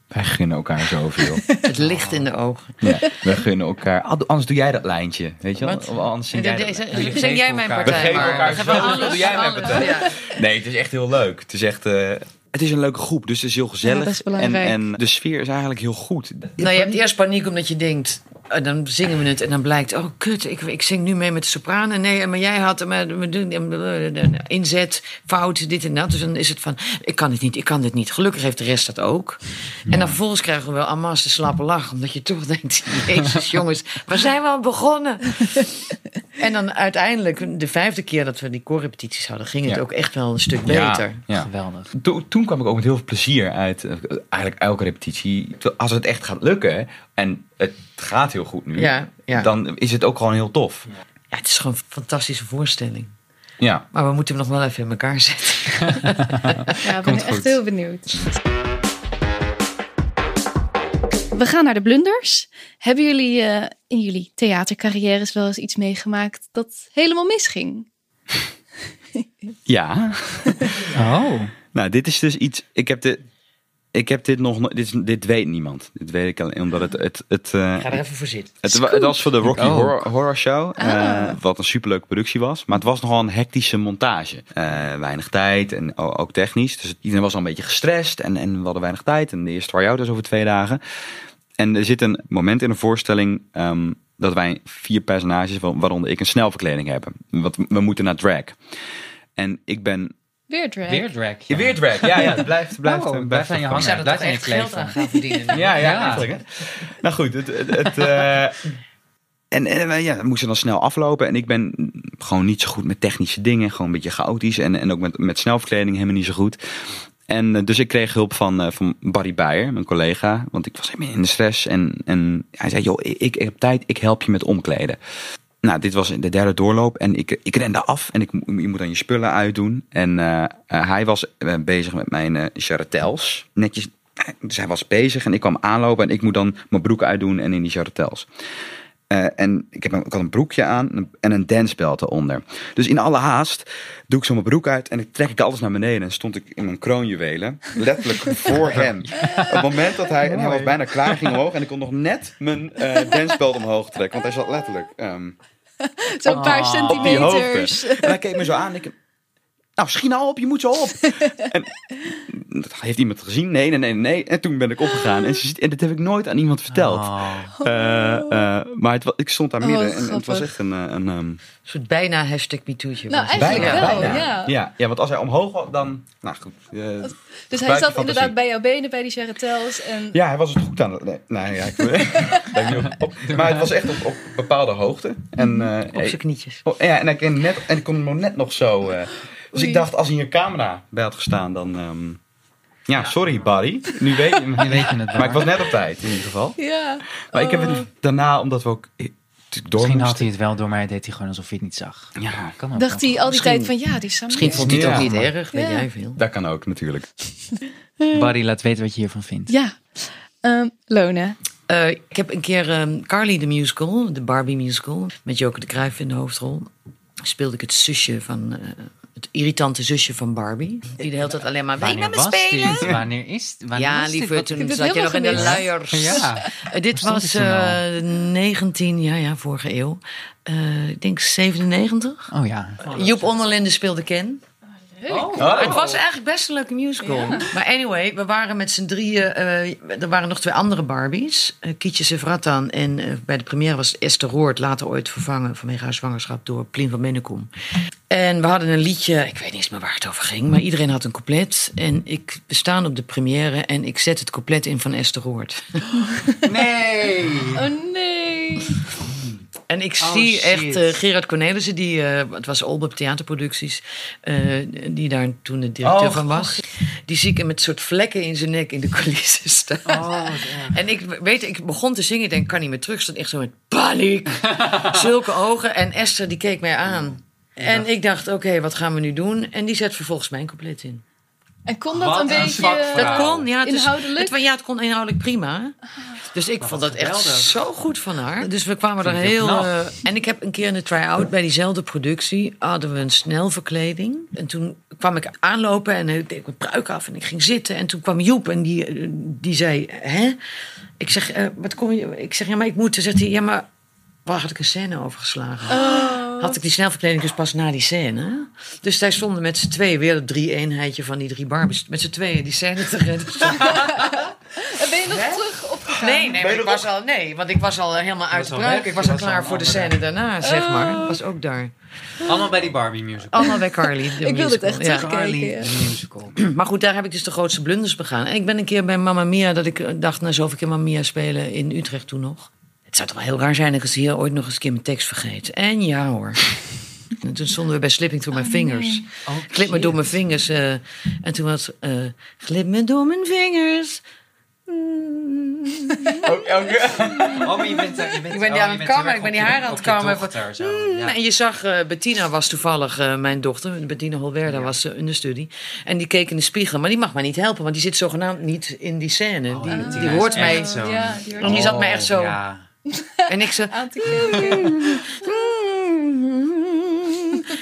Wij gunnen elkaar zoveel. Het licht in de ogen. Ja, we gunnen elkaar. Al- Anders doe jij dat lijntje, weet je wel? Wat? Of Anders zing Ja, jij de- dat zeg- jullie zeg geven jij mijn elkaar- partij We geven maar. elkaar We geven zoveel, alles, doe jij mijn alles. partij. Ja. lijntje. Nee, het is echt heel leuk. Het is echt... eh, het is een leuke groep, dus het is heel gezellig. Ja, dat is belangrijk. En, en de sfeer is eigenlijk heel goed. Nou, je hebt eerst paniek omdat je denkt. eh, Dan zingen we het en dan blijkt, oh kut, ik, ik zing nu mee met de sopranen. Nee, maar jij had maar, maar doen- eh, inzet, fout, dit en dat. Dus dan is het van, ik kan dit niet, ik kan dit niet. Gelukkig heeft de rest dat ook. En dan vervolgens krijgen we wel amass de slappe lach. Omdat je toch denkt, jezus jongens, waar zijn we aan begonnen? en dan uiteindelijk, de vijfde keer dat we die koorrepetities hadden... ging het Ja. ook echt wel een stuk Ja, beter. ja. Geweldig. To- toen kwam ik ook met heel veel plezier uit eh, eigenlijk elke repetitie. Als het echt gaat lukken, en het gaat heel goed nu, Ja, ja. dan is het ook gewoon heel tof. Ja, het is gewoon een fantastische voorstelling. Ja. Maar we moeten hem nog wel even in elkaar zetten. ja, ik ben echt goed. heel benieuwd. We gaan naar de blunders. Hebben jullie eh, in jullie theatercarrières wel eens iets meegemaakt dat helemaal misging? Ja. Oh. Nou, dit is dus iets. Ik heb de Ik heb dit nog, no- dit, is- dit weet niemand. Dit weet ik alleen omdat het, het, het, eh, Ik ga er even voor zitten. Oh, het, wa- het was voor de Rocky Ik ook. Horror, Horror Show, eh, Ah. wat een superleuke productie was. Maar het was nogal een hectische montage. Eh, weinig tijd en o- ook technisch. Dus iedereen was al een beetje gestrest en, en we hadden weinig tijd. En de eerste try-out is over twee dagen. En er zit een moment in een voorstelling ehm, dat wij vier personages, wa- waaronder ik, een snelverkleding hebben. Want we moeten naar drag. En ik ben... Weer drag. Weer drag. Je weer drag? Ja, ja. Het blijft, blijft, Oh, blijft, blijft aan je hangen. hangen. Ik zou blijf dat toch aan je echt geld kleven. aan gaan verdienen. Ja, ja, Ja. eigenlijk, hè? Nou goed, het... het, het, eh, En, en eh, ja, we moesten dan snel aflopen. En ik ben gewoon niet zo goed met technische dingen. Gewoon een beetje chaotisch. En, en ook met, met snelverkleding helemaal niet zo goed. En eh, dus ik kreeg hulp van, eh, van Barry Beyer, mijn collega. Want ik was helemaal in de stress. En, en hij zei, joh, ik, ik heb tijd. Ik help je met omkleden. Nou, dit was de derde doorloop. En ik, ik rende af. En ik, mo- je moet dan je spullen uitdoen. En eh, eh, hij was eh, bezig met mijn eh charretels. Netjes. Dus hij was bezig en ik kwam aanlopen. En ik moet dan mijn broek uitdoen en in die charretels. Eh, en ik, heb een, ik had een broekje aan en een dancebelt eronder. Dus in alle haast doe ik zo mijn broek uit en ik trek ik alles naar beneden. En stond ik in mijn kroonjuwelen, letterlijk voor hem. Op het moment dat hij, en hij was bijna klaar, ging omhoog. En ik kon nog net mijn eh dancebelt omhoog trekken. Want hij zat letterlijk ehm, Zo'n paar Ah, op die centimeters. hoogte. En hij keek me zo aan en ik... Nou, schiet nou op, je moet zo op. en, dat heeft iemand gezien? Nee, nee, nee, nee. En toen ben ik opgegaan. En, ze, en dit heb ik nooit aan iemand verteld. Oh. Eh, eh, maar het, wa- ik stond daar Ah. Oh, midden wat en, en het was grappig. echt een... eh, een ehm, Een soort bijna hashtag MeToo'tje. Nou, was het. eigenlijk Bijna, wel, bijna. ja. Ja, ja, want als hij omhoog was, dan... Nou goed. eh, Dus hij gebruik je zat fantasie. inderdaad bij jouw benen, bij die charretels. En ja, hij was het goed aan het... Nee, nou ja, ik, lijkt niet op, op- Maar het was echt op, op bepaalde hoogte. En, eh, Op zijn knietjes. Oh, ja, en ik, en net, en ik kon hem net nog zo. eh, dus Oei. ik dacht, als hij een camera bij had gestaan, dan. ehm, ja, sorry, buddy. Nu weet je Nu hem. weet je het wel. maar ik was net op tijd in ieder geval. ja. Maar ik heb Oh. het daarna, omdat we ook eh, natuurlijk door Misschien had moesten. hij het wel door, maar hij deed hij gewoon alsof hij het niet zag. Ja, Kan ook Dacht nog. hij al die Misschien- tijd van, ja, die Samir. Misschien vond hij het Ja. ook niet erg, weet Ja. jij veel. dat kan ook natuurlijk. Barry, laat weten wat je hiervan vindt. Ja. Ehm Lone. Eh, ik heb een keer ehm, Carly de musical, de Barbie musical, met Joke de Cruijff in de hoofdrol. Speelde ik het zusje van, eh, het irritante zusje van Barbie. Die de hele tijd alleen maar, wil je Wanneer met me was spelen? dit? Wanneer is wanneer Ja, was dit? liever, Wat- Ik toen heb zat je dit nog in de helemaal gemist. luiers. Ja. Eh, dit Waar stond nou? was dit toen eh, 19, ja, ja, vorige eeuw. Eh, ik denk 97. Oh ja. Eh, Joep Onderlinde speelde Ken. Oh. Het was eigenlijk best een leuke musical. Maar anyway, we waren met z'n drieën. eh, er waren nog twee andere Barbies. eh, Kietje Sevratan. En eh, bij de première was Esther Roord. Later ooit vervangen vanwege haar zwangerschap door Plin van Mennekom. En we hadden een liedje. Ik weet niet eens meer waar het over ging. Maar iedereen had een couplet. En ik we staan op de première. En ik zet het couplet in van Esther Roord. Nee! Oh nee. En ik Oh, zie shit. echt eh, Gerard Cornelissen, die, eh, het was Olbep Theaterproducties, eh, die daar toen de directeur Oh, van was. Die zie ik hem met soort vlekken in zijn nek in de coulissen staan. Oh, en ik weet, ik begon te zingen, ik denk, kan niet meer terug. Stond echt zo met paniek. Zulke ogen. En Esther, die keek mij aan. En ik dacht, oké, wat gaan we nu doen? En die zet vervolgens mijn compleet in. En kon dat Wat een een beetje... zwak Dat Wauw. kon, ja. Het is- Inhoudelijk? het wa- ja, het kon inhoudelijk prima. Dus ik vond dat echt geweldig. zo goed van haar. Dus we kwamen er Vind ik heel heel... knap. eh, en ik heb een keer in de try-out bij diezelfde productie... hadden we een snelverkleding. En toen kwam ik aanlopen en ik deed mijn pruik af en ik ging zitten. En toen kwam Joep en die, eh, die zei... Hè? Ik zeg, eh, wat kom je... Ik zeg, ja, maar ik moet... Toen zegt hij, ja, maar... Waar had ik een scène over geslagen? Had ik die snelverkleding dus pas na die scène. Dus daar stonden met z'n tweeën weer dat drie-eenheidje van die drie Barbies. Met z'n tweeën die scène te En redden. ben je nog terug opgegaan? Nee, nee, maar ik was al, nee, want ik was al helemaal uit de al pruik. weg, Ik je was al was al klaar voor de andere. scène Oh. daarna, zeg maar. Ik was ook daar. Allemaal bij die Barbie musical. Allemaal bij Carly. de Ik wil dit musical, echt ja. terug. Carly Gekeken, de musical. Maar goed, daar heb ik dus de grootste blunders begaan. En ik ben een keer bij Mamma Mia, dat ik eh, dacht, nou zoveel keer Mamma Mia spelen in Utrecht toen nog. Het zou toch wel heel raar zijn dat ik als hier ooit nog eens een keer mijn tekst vergeet. En ja hoor. En toen stonden we bij Slipping Through Oh, My Fingers. Glip me door mijn vingers. eh, en toen was eh Glip me door mijn vingers. Mm. Oh, maar je bent, je bent, Ik ben die aan het kammen, ik ben die haar aan het kammen. Mm, En je zag, eh, Bettina was toevallig eh, mijn dochter. Bettina Holwerda was eh, in de studie. En die keek in de spiegel. Maar die mag mij niet helpen, want die zit zogenaamd niet in die scène. die, Bettina die, Oh, is hoort mij. echt zo. Oh, Ja, die En hoort die zat mij echt zo. Ja. En ik ze. aan te kijken.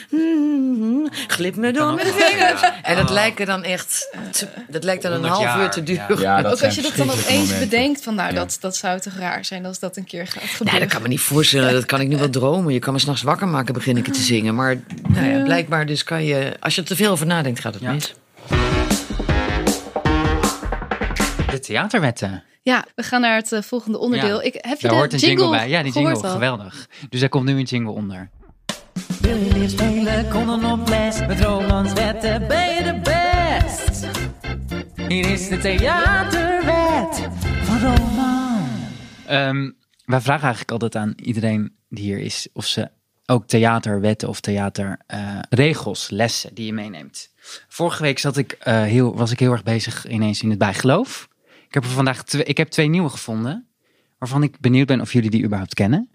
"Mm-hmm, glip me door met de vingers. En dat lijkt er dan echt, te- dat lijkt dan een 100 half uur Oh. jaar, te ja. duren. Ja, dat Ook zijn als je dat dan verschrikkelijke opeens momenten. bedenkt van nou, dat, dat zou toch raar zijn als dat een keer gaat Nee, gebeuren. dat kan me niet voorstellen. Dat kan ik nu wel dromen. Je kan me s'nachts wakker maken, begin ik het te zingen. Maar nou ja, blijkbaar dus kan je... Als je er te veel over nadenkt, gaat het Ja. mis. De theaterwetten. Ja, we gaan naar het eh, volgende onderdeel. Ja. Ik, heb je Daar de hoort een jingle, bij. Ja, die jingle. gehoord al? Geweldig. Dus daar komt nu een jingle onder. Wil je weer spelen? Kom dan op les. Met Roland's wetten ben je de best. Hier is de Theaterwet van Roland. Ehm, wij vragen eigenlijk altijd aan iedereen die hier is of ze ook theaterwetten of theaterregels, eh, lessen die je meeneemt. Vorige week zat ik, eh, heel, was ik heel erg bezig ineens in het bijgeloof. Ik heb er vandaag twee, ik heb twee nieuwe gevonden, waarvan ik benieuwd ben of jullie die überhaupt kennen.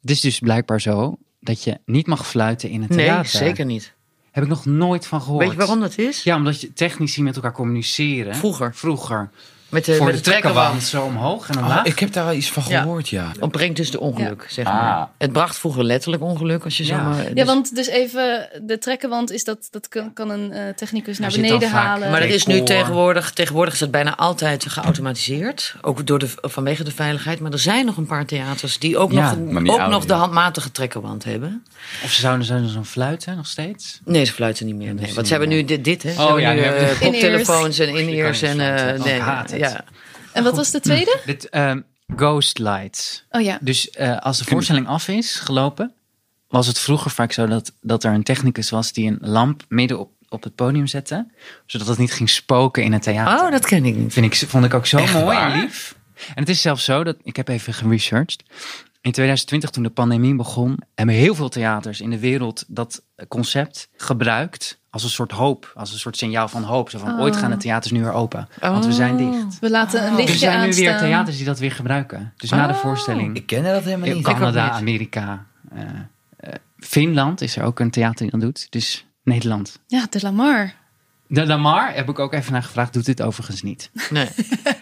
Het is dus blijkbaar zo dat je niet mag fluiten in het Nee, theater. zeker niet. Heb ik nog nooit van gehoord. Weet je waarom dat is? Ja, omdat je technici met elkaar communiceren. Vroeger. Vroeger. Met de, Voor met de de Oh, trekkerwand. trekkerwand zo omhoog en Ah, omlaag. ik heb daar wel iets van Ja. gehoord, ja. Ontbrengt dus de ongeluk, zeg Ah. maar. Het bracht vroeger letterlijk ongeluk, als je Ja. zo maar... Ja, dus- want dus even de trekkenwand is dat, dat kan, kan een eh, technicus naar Nou, zit dan beneden vaak- halen. Maar dat is nu decor. tegenwoordig, tegenwoordig is dat bijna altijd geautomatiseerd. Ook door de, vanwege de veiligheid. Maar er zijn nog een paar theaters die ook Ja, maar nog, die ook oude, nog de ja. handmatige trekkerwand hebben. Of ze zouden, zouden zo'n fluiten nog steeds? Nee, ze fluiten niet meer. Nee. Want ze hebben nu dit, dit hè. Ze Oh, hebben ja, nu nu eh, hebben ze- koptelefoons en in-ears. Je kan En, niet eh, fluiten. Oh, nee, ik haat het. ja. en wat was de tweede? Dit, ehm, ghost lights. Oh ja. Dus eh, als de voorstelling af is gelopen, was het vroeger vaak zo dat, dat er een technicus was die een lamp midden op, op het podium zette. Zodat het niet ging spoken in het theater. Oh, dat ken ik niet. Vind ik, vond ik ook zo Echt mooi waar? en lief. En het is zelfs zo dat ik heb even geresearched. In 2020, toen de pandemie begon, hebben heel veel theaters in de wereld dat concept gebruikt als een soort hoop, als een soort signaal van hoop. Zo van ooit Oh. gaan de theaters nu weer open, want we zijn dicht. We laten een Dus er lichtje zijn nu weer aanstaan. Oh. theaters die dat weer gebruiken. Dus na de voorstelling, Ik ken dat helemaal in niet. Canada, niet. Amerika, eh, eh, Finland is er ook een theater die dat doet. Dus Nederland. Ja, de Lamar. De Lamar heb ik ook even naar gevraagd, doet dit overigens niet. Nee. Dat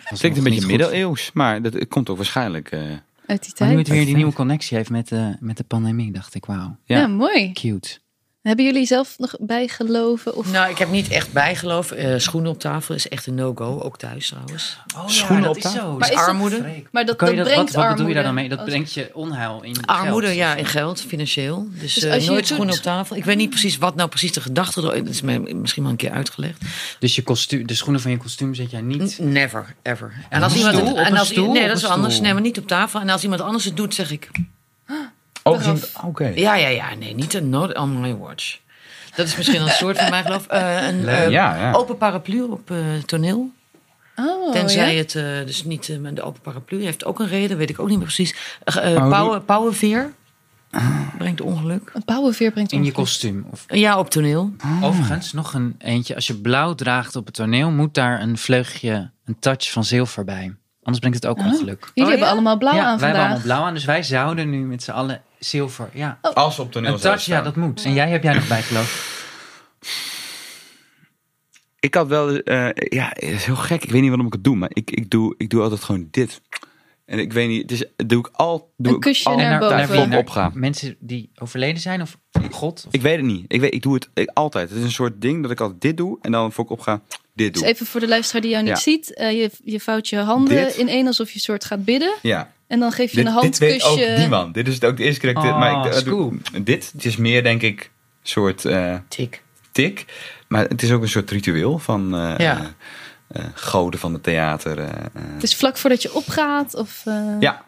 Het klinkt een beetje middeleeuws, maar dat komt ook waarschijnlijk... eh, Uit die Maar Oh, nu tijd. het weer die nieuwe connectie heeft met, eh, met de pandemie, dacht ik, wauw, Ja. ja. mooi. cute. Hebben jullie zelf nog bijgeloven? Of... Nou, ik heb niet echt bijgeloof. Eh, schoenen op tafel is echt een no-go. Ook thuis trouwens. Dus Oh, Schoenen op tafel? zo. Maar is dat- armoede. Maar dat, Kan je dat dat, brengt wat, wat bedoel armoede. je daar dan mee? Dat Als- brengt je onheil in Armoede, geld. ja, in geld, financieel. Dus, Dus eh, als je nooit het doet- schoenen op tafel. Ik weet niet precies wat nou precies de gedachte... er- Dat is mij misschien wel een keer uitgelegd. Dus je kostuum, de schoenen van je kostuum zet jij niet. N- Never, ever. En een stoel? Op en een als, stoel? Nee, Op dat een is anders. stoel? Nee, maar niet op tafel. En als iemand anders het doet, zeg ik... Oh, we zien het- oké. Ja, ja, ja. Nee, niet een not on my watch. Dat is misschien een soort van mijn geloof. Eh, een eh, Ja, ja. open paraplu op eh, toneel. Oh, Tenzij ja? het, eh, dus niet eh, met de open paraplu heeft ook een reden, weet ik ook niet meer precies. Eh, eh, die- pauwen- Pauwenveer brengt ongeluk. Een pauwenveer brengt In je ongeluk. kostuum. Of, Ja, op toneel. Mm. Overigens, nog een eentje. Als je blauw draagt op het toneel, moet daar een vleugje, een touch van zilver bij. Anders brengt het ook ongeluk. Jullie Oh, hebben ja? allemaal blauw ja, wij aan hebben allemaal vandaag. blauw aan, dus wij zouden nu met z'n allen zilver. Ja, Als op toneel een zou touch, ja, staan. dat moet. En jij heb jij nog bijgeloof. Ik had wel, eh, ja, het is heel gek. Ik weet niet waarom ik het doe, maar ik, ik, doe, ik doe altijd gewoon dit. En ik weet niet, het is, doe ik al. Doe Een ik kusje al- naar boven. Naar wie? plop opgaan. mensen die overleden zijn of God? Of, Ik weet het niet. Ik, weet, ik doe het ik, altijd. Het is een soort ding dat ik altijd dit doe en dan voor ik opga, dit Dus doe. even voor de luisteraar die jou niet Ja. ziet. eh, je, je vouwt je handen Dit. in één alsof je soort gaat bidden. Ja. En dan geef je Dit, een dit weet ook handkusje. niemand. Dit is het ook de eerste keer dat ik dit... Ah, maar ik, scoop. doe, dit, het is meer denk ik een soort eh, Tik. tik. Maar het is ook een soort ritueel van eh, Ja. eh, eh, goden van het theater. eh, eh. Dus vlak voordat je opgaat. Of, eh, Ja.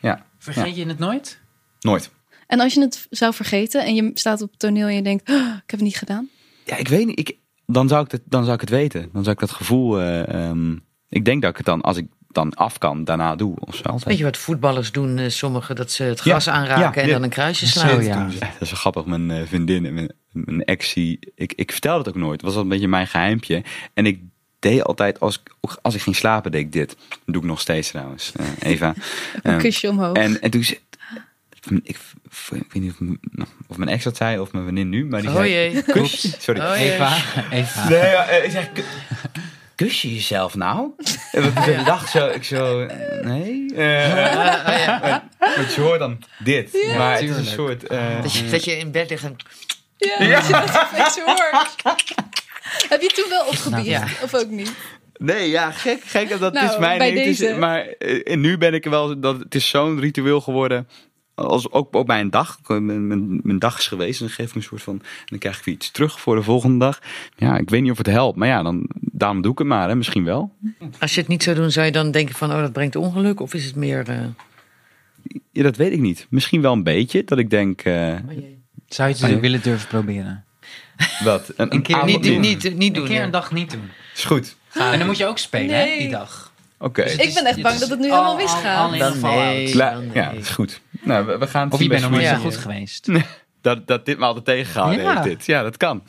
Ja. vergeet je het nooit? Nooit. En als je het zou vergeten en je staat op het toneel en je denkt, "Oh, ik heb het niet gedaan. Ja, ik weet niet. Ik, dan, zou ik het, dan zou ik het weten. Dan zou ik dat gevoel. eh, ehm, ik denk dat ik het dan, als ik dan af kan, daarna doe. Of zo. Weet je wat voetballers doen, eh, sommigen, dat ze het gras Ja, ja, aanraken en dit. dan een kruisje Zo, slaan. ja. Ja, dat is wel grappig. Mijn eh, vriendin en mijn, mijn exie. Ik, ik vertelde het ook nooit. Het was al een beetje mijn geheimpje. En ik deed altijd, als, ik- ook als ik ging slapen, deed ik dit. Dat doe ik nog steeds trouwens, eh, Eva. Een Ehm, kusje omhoog. en, en toen ze. Ik, ik weet niet of, m- nou, of mijn ex dat zei of mijn vriendin nu, maar die Oh zei... jee. Kus, sorry. Oh, jee. Eva, Eva. Nee, ja, eh, ik zeg, ku- kus je jezelf nou? En we ja. dacht zo, ik zo, eh, nee. eh, Want je hoort dan dit. maar het is een tuurlijk. soort... eh, Dat je, dat je in bed ligt en... Ja, als je dat opeens hoort. Heb je toen wel opgebied? Ja. Of ook niet? Nee, ja, gek. gek dat Nou, is mijn bij ding. Het is- deze. maar eh, en nu ben ik er wel... Dat, het is zo'n ritueel geworden. Als, ook, ook bij een dag. Mijn, mijn, mijn dag is geweest. En dan geef ik een soort van... en dan krijg ik weer iets terug voor de volgende dag. Ja, ik weet niet of het helpt. Maar ja, dan, daarom doe ik het maar. Hè. Misschien wel. Als je het niet zou doen, zou je dan denken van, oh, dat brengt ongeluk? Of is het meer... eh, Ja, dat weet ik niet. Misschien wel een beetje. Dat ik denk... eh, Zou je het willen durven proberen? wat? Een, keer avond niet, doen. doen, niet, niet doen. Een keer ja. een dag niet doen. Is goed. En dan moet je ook spelen, hè, Nee. die dag. Oké. Ik ben echt bang dat het nu helemaal misgaat. Alleen Dan nee. Fallout. La- dan Ja, nee. is goed. Nou, we, we gaan het Of je zien bent nog bij niet zo Ja. goed geweest. dat, dat dit me altijd tegengehouden Ja. heeft. Dit. Ja, dat kan.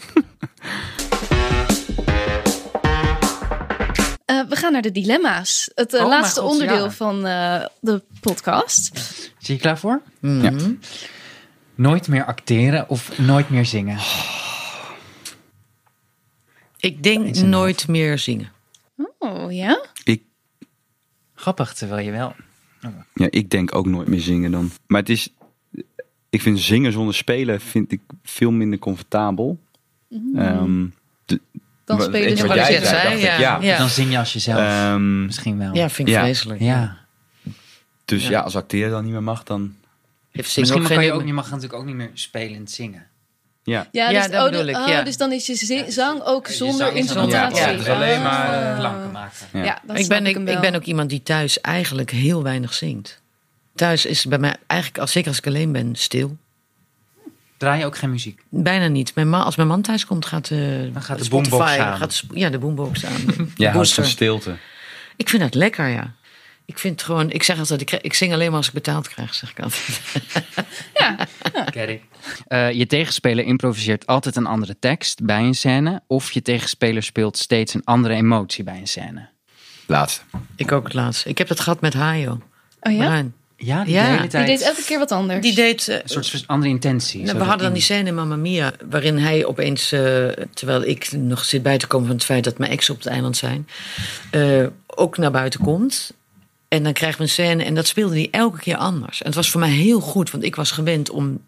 Eh, we gaan naar de dilemma's. Het eh, Oh, mijn laatste God, onderdeel ja. van eh, de podcast. Zie je klaar voor? Mhm. Ja. Nooit meer acteren of nooit meer zingen. Ik denk nooit meer zingen. Oh ja? Ik, Grappig, terwijl je wel. ja, ik denk ook nooit meer zingen dan. Maar het is... Ik vind zingen zonder spelen vind ik veel minder comfortabel. Ehm, de- Dan wat- spelen iets ze wat wel. jij Ja, zei, zei, dacht ik, ja. ja. Ja. Dan zing je als jezelf. Ehm, Misschien wel. Ja, vind ik Ja. vreselijk. Ja. dus ja. als acteer dan niet meer mag, dan... Heeft zingen Misschien ook kan geen... je, ook, je mag natuurlijk ook niet meer spelend zingen. Ja. Ja, Ja, dus, dat oh, bedoel de- ik, oh, ja. dus dan is je zi- zang ook zonder zang is dan- instrumentatie. Ja, het is alleen Ah. maar eh, klanken maken. Ja, Ja. dan ik, snap ik, ben, ik, hem ik wel. ben ook iemand die thuis eigenlijk heel weinig zingt. Thuis is bij mij eigenlijk, als, zeker als ik alleen ben, stil. Draai je ook geen muziek? Bijna niet. Mijn ma, als mijn man thuis komt, gaat, eh Dan gaat de Spotify, boombox aan. Gaat, Sp- ja, de boombox aan. Jij houdt Booster. van stilte. Ik vind dat lekker, ja. Ik vind gewoon, ik zeg altijd, ik, krijg- ik zing alleen maar als ik betaald krijg, zeg ik altijd. Eh, je tegenspeler improviseert altijd een andere tekst bij een scène. Of je tegenspeler speelt steeds een andere emotie bij een scène. Laatste. Ik ook het laatste. Ik heb dat gehad met Hayo. Oh ja? Bruin. Ja, die Ja. de hele Die tijd. deed elke keer wat anders. Die deed, eh, Een soort andere intentie. Nou, we zodat hadden dan in- die scène in Mamma Mia, waarin hij opeens, eh, terwijl ik nog zit bij te komen van het feit dat mijn ex op het eiland zijn, eh, ook naar buiten komt. En dan krijgen we een scène en dat speelde hij elke keer anders. En het was voor mij heel goed, want ik was gewend om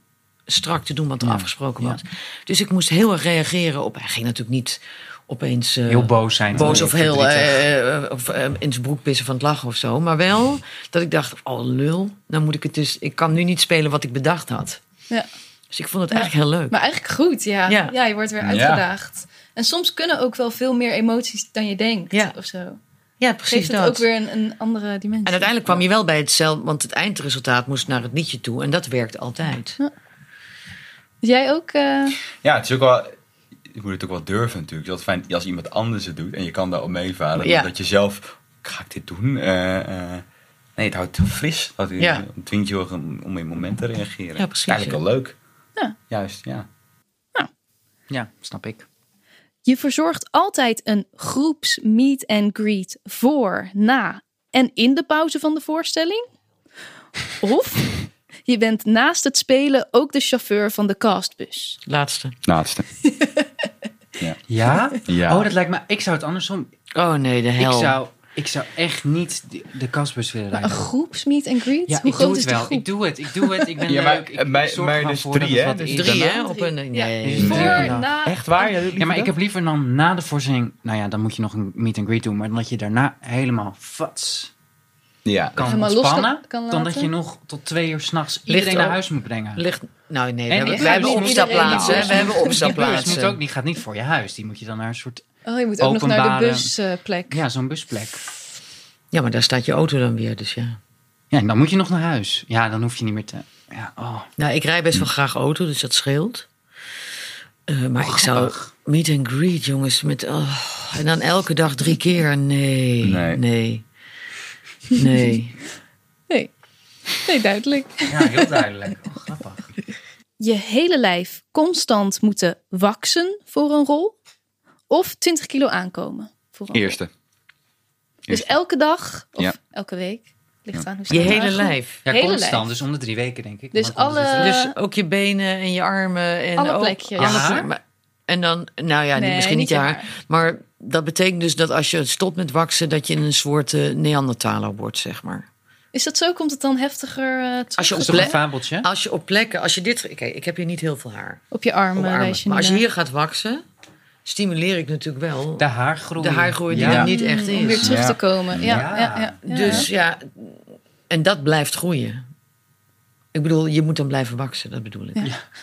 strak te doen wat er afgesproken was. Dus ik moest heel erg reageren op. Hij ging natuurlijk niet opeens eh, Heel boos zijn. boos of heel verdrietig. eh, eh, of, eh, in zijn broek pissen van het lachen of zo. Maar wel dat ik dacht, oh lul, dan moet ik het dus. Ik kan nu niet spelen wat ik bedacht had. Ja. Dus ik vond het eigenlijk heel leuk. Maar eigenlijk goed, ja. ja. Ja. je wordt weer uitgedaagd. En soms kunnen ook wel veel meer emoties dan je denkt. Ja. Of zo. ja, Geeft precies het dat. ook weer een, een andere dimensie. En uiteindelijk kwam je wel bij hetzelfde, want het eindresultaat moest naar het liedje toe. En dat werkt altijd. Jij ook? eh, Ja, het is ook wel... Je moet het ook wel durven natuurlijk. Dat is fijn als iemand anders het doet en je kan daar op meevaren. Ja. Dat je zelf, ga ik dit doen? Eh, eh, nee, het houdt heel fris. Dat Ja. Het dwingt je ook om, om in momenten te reageren. Ja, precies, Eigenlijk ja. wel leuk. Ja. Juist, ja. Ja, snap ik. je verzorgt altijd een groeps meet and greet voor, na en in de pauze van de voorstelling. Of je bent naast het spelen ook de chauffeur van de castbus. Laatste. Laatste. Ja? Ja. Oh, dat lijkt me... Ik zou het andersom... Oh nee, de hel. Ik zou, ik zou echt niet de, de kasbus willen Een rijden. groeps meet and greet? Ja, Hoe ik doe groot het is de wel. groep? Ik doe het. Ik doe het. Ik ben Ja, maar- leuk. Ik, mij- ik zorg mij er maar dus voor dat drie, het hè? wat Dus is. Drie, Daarna? hè? Op een, nee, Ja. nee. Voor, Voor, Ja. na... Echt waar? Ja, maar ik heb liever dan na de voorstelling... Nou ja, dan moet je nog een meet and greet doen. Maar dat je daarna helemaal fats Ja. kan Helemaal los kan- ontspannen. kan dan dat laten. je nog tot twee uur s'nachts iedereen Ligt naar ook- huis moet brengen. Ligt, nou nee, we En hebben, ik we ga hebben niet opstapplaatsen. iedereen hè. We hebben Die bus moet opstapplaatsen. ook, die gaat niet voor je huis. Die moet je dan naar een soort... Oh, je moet ook nog naar de Openbare- busplek. Ja, zo'n busplek. Ja, maar daar staat je auto dan weer, dus ja. Ja, en dan moet je nog naar huis. Ja, dan hoef je niet meer te... Ja, oh. Nou, ik rij best wel graag auto, dus dat scheelt. Eh, maar ik zou meet and greet, jongens. Met, oh, en dan elke dag drie keer. Nee, nee, Nee. nee. nee. Nee. nee, duidelijk. Ja, heel duidelijk. Oh, grappig. je hele lijf constant moeten waksen voor een rol. Of 20 kilo aankomen. Voor een rol. Eerste. Dus elke dag of Ja. elke week. Ligt aan hoe snel Je hele aankomt. lijf. Ja, Hele constant. lijf. Dus om de drie weken, denk ik. Dus Want anders alle- is het- Dus ook je benen en je armen. En Alle ook- plekjes. Je alle haar? plek- maar- en dan, nou ja, Nee, niet, misschien niet niet je je haar. Maar dat betekent dus dat als je stopt met waksen... dat je een soort eh, Neandertaler wordt, zeg maar. Is dat zo? Komt het dan heftiger eh, terug? Als Dat je op, is toch een plek, fabeltje? als je op plekken, als je dit. Kijk, ik heb hier niet heel veel haar. op je armen? op armen. wijs je Maar als je naar- hier gaat waksen, stimuleer ik natuurlijk wel De de, haargroei. haargroei die Ja. er niet echt Om weer is. terug Ja. te komen. Ja, Ja. ja. Ja, ja, Dus ja, en dat blijft groeien. Ik bedoel, je moet dan blijven waksen, dat bedoel ik.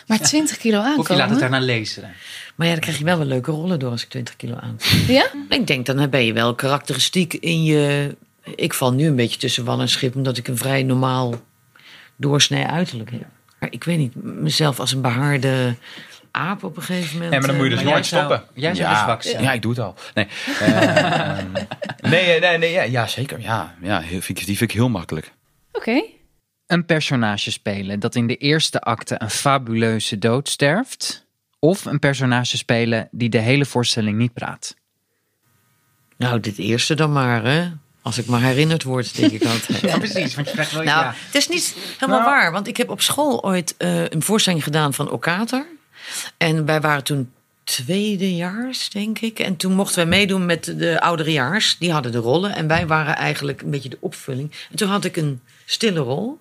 Maar 20 kilo Of je laat het aankomen? daarna lezen. Maar ja, dan krijg je wel wel leuke rollen door als ik 20 kilo aan. Ja? Ik denk, dan ben je wel karakteristiek in je... Ik val nu een beetje tussen wal en schip... omdat ik een vrij normaal doorsnee uiterlijk heb. Maar ik weet niet, mezelf als een behaarde aap op een gegeven moment... Nee, maar dan moet je eh, dus Maar nooit jij zou- stoppen. jij zou ja. dus waksen. Ja, ik doe het al. Nee, Ehm, nee, eh, nee, nee ja, ja, zeker. Ja, ja heel, vind ik, die vind ik heel makkelijk. Oké. Een personage spelen dat in de eerste acte een fabuleuze dood sterft. Of een personage spelen die de hele voorstelling niet praat. Nou, dit eerste dan maar, hè. Als ik maar herinnerd word, denk ik altijd. Ja, precies. Want je krijgt wel Nou, ja. Nou. het is niet helemaal waar. Want ik heb op school ooit eh, een voorstelling gedaan van Okater. En wij waren toen tweedejaars, denk ik. En toen mochten wij meedoen met de ouderejaars. Die hadden de rollen. En wij waren eigenlijk een beetje de opvulling. En toen had ik een stille rol.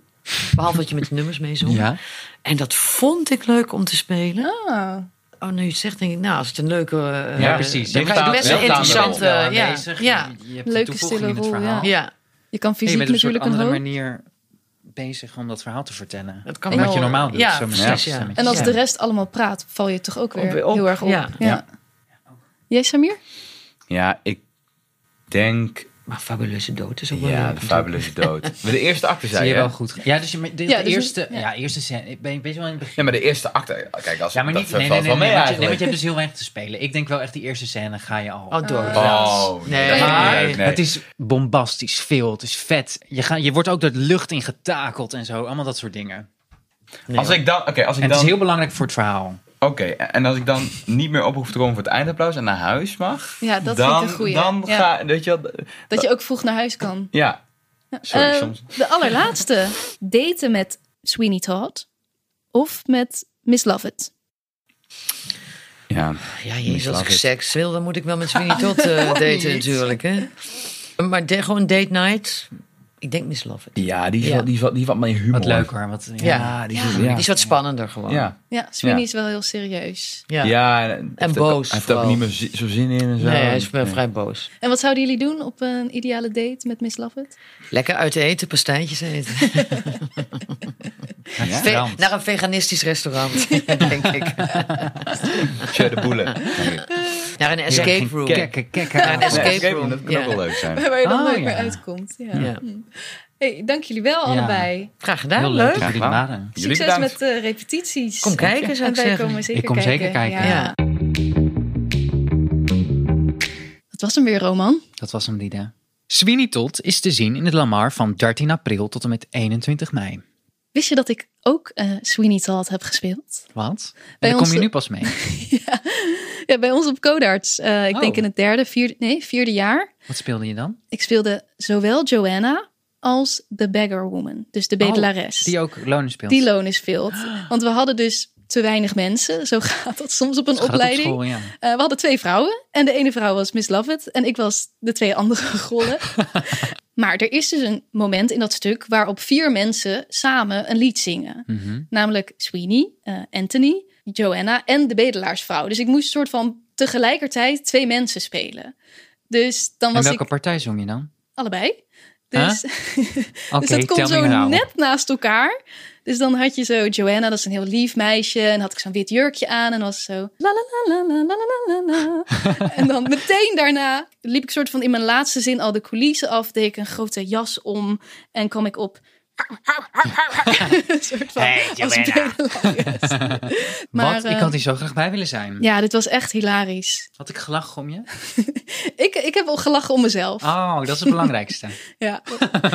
Behalve dat je met de nummers mee zong. Ja. En dat vond ik leuk om te spelen. Ah. Oh, nu je het zegt, denk ik, nou, als het een leuke... eh, Ja, precies. Dan Je krijg je bent best wel een aan de rol. interessante... wel Ja, aanwezig. ja, Je hebt Leuke, een toevoeging stille in het rol, verhaal. ja. ja. Je kan Je fysiek bent dus op een natuurlijk soort een andere hoop. manier bezig om dat verhaal te vertellen. Dat kan Wat wel, je normaal eh, doet. ja, zo met precies, zo'n ja. stemmetje. En als Ja. de rest allemaal praat, val je toch ook Op- weer op, heel erg op. ja. ja. Jij, Samir? Ja, ik denk... Maar fabuleuze dood is ook wel Ja, leuk. de fabuleuze dood. Maar de eerste acte Zie zei je je, wel hè? goed. ge- Ja, dus je, de, de Ja, dus- eerste, ja. ja. eerste scène. Ik ben, weet je wel in het begin. Ja, maar de eerste acte... oh, Kijk, als, Ja, maar dat niet. valt Nee, nee, nee, wel mee nee, want je, nee, eigenlijk. want je hebt dus heel weinig te spelen. Ik denk wel echt die eerste scène ga je al. Oh, dood. Oh, Nee. dat is niet Maar leuk, nee. het is bombastisch veel. Het is vet. Je, gaat, je wordt ook door de lucht in getakeld en zo. Allemaal dat soort dingen. Als ik dan... Oké, als ik En het dan... is heel belangrijk voor het verhaal. Oké, en als ik dan niet meer op hoef te komen voor het eindapplaus en naar huis mag, Ja, dat dan, vind ik een goeie. dan Ja. ga weet je wel, Dat je ook vroeg naar huis kan. ja, sorry, Eh, soms. De allerlaatste. Daten met Sweeney Todd of met Miss Lovett. Ja, Ja, jezus, als ik Mislaat seks wil, dan moet ik wel met Sweeney Todd eh, daten natuurlijk. Hè? Maar de- gewoon date night, ik denk Miss Love It. ja die is Ja. wat, die is wat, die is wat meer humor. Wat leuker. Wat, ja. Ja. Ja, die Ja. is, Die ja. is wat spannender gewoon. Ja. Ja, Sweeney Ja. is wel heel serieus. Ja. Ja, en, hij heeft boos ook- Hij heeft ook vooral. niet meer zi- zo zin in en zo. Nee, hij is wel Nee. vrij boos. En wat zouden jullie doen op een ideale date met Miss Lovett? Lekker uit eten, pastijntjes eten. Ja. Ve- Naar een veganistisch restaurant, denk ik. Tje, de boelen. Nee. Naar een escape room. Kekken, Naar kekken. een escape, Nee, room. dat kan ook Ja. wel leuk zijn. Waar je dan Oh, nooit ja. meer uitkomt. Ja. Ja. Hey, dank jullie wel Ja. allebei. Graag gedaan, Heel leuk leuk. dat jullie er waren. Jullie Succes bedankt. met de repetities. Kom kijken, En zou ik wij zeggen. komen zeker Ik kom kijken. zeker kijken. Ja. Ja. Dat was hem weer, Roman. Dat was hem, Lida. Sweeney Todd is te zien in het Lamar van 13 april tot en met 21 mei. Wist je dat ik ook eh Sweeney Todd heb gespeeld? Wat? Bij En daar ons- kom je nu pas mee. Ja, bij ons op Codarts. Eh, ik Oh. denk in het derde, vierde, nee, vierde jaar. Wat speelde je dan? Ik speelde zowel Joanna als de Beggar Woman. Dus de bedelares. Oh, Die ook lonen speelt. Die loon is veel. Want we hadden dus te weinig mensen. Zo gaat dat soms op een Gaat op opleiding. school, ja. Eh, we hadden twee vrouwen. En de ene vrouw was Miss Lovett. En ik was de twee andere rollen. maar er is dus een moment in dat stuk waarop vier mensen samen een lied zingen. Mhm. Namelijk Sweeney, eh, Anthony, Joanna en de bedelaarsvrouw. Dus ik moest soort van tegelijkertijd twee mensen spelen. Dus dan En was welke ik partij zong je dan? allebei. Dus, Oké, dus dat tell komt me nou. zo now. net naast elkaar. Dus dan had je zo Joanna, dat is een heel lief meisje. En had ik zo'n wit jurkje aan en was zo... La, la, la, la, la, la, la, la, la. en dan meteen daarna liep ik soort van in mijn laatste zin al de coulissen af. Deed ik een grote jas om en kwam ik op... een soort van Hey, als Joanna. bedelares. Maar, Wat? eh, Ik had hier zo graag bij willen zijn. Ja, dit was echt hilarisch. Had ik gelachen om je? Ik, ik heb al gelachen om mezelf. Oh, dat is het belangrijkste. Ja.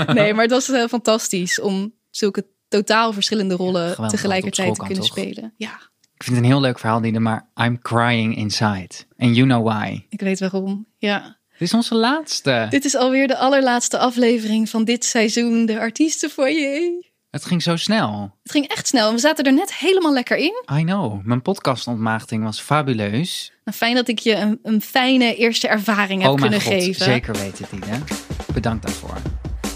Nee, maar het was eh, fantastisch om zulke totaal verschillende rollen geweldig, tegelijkertijd want te op kunnen school kan spelen. Ja, Ik vind het een heel leuk verhaal, Diede, maar I'm crying inside. And you know why. ik weet waarom. Ja. Dit is onze laatste. Dit is alweer de allerlaatste aflevering van dit seizoen, de artiestenfoyer. Het ging zo snel. Het ging echt snel en we zaten er net helemaal lekker in. I know. Mijn podcastontmaagding was fabuleus. Nou, fijn dat ik je een, een fijne eerste ervaring heb oh mijn kunnen god, geven. zeker weten, Diede. Bedankt daarvoor.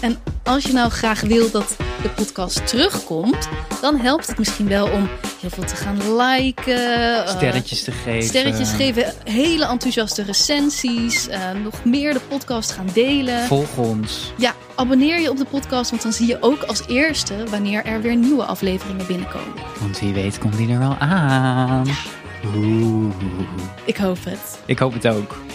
En als je nou graag wil dat de podcast terugkomt, dan helpt het misschien wel om heel veel te gaan liken. eh, Sterretjes te geven. Sterretjes geven, hele enthousiaste recensies, eh, nog meer de podcast gaan delen. Volg ons. Ja, abonneer je op de podcast, want dan zie je ook als eerste wanneer er weer nieuwe afleveringen binnenkomen. Want wie weet komt die er wel aan. Oeh. Ik hoop het. Ik hoop het ook.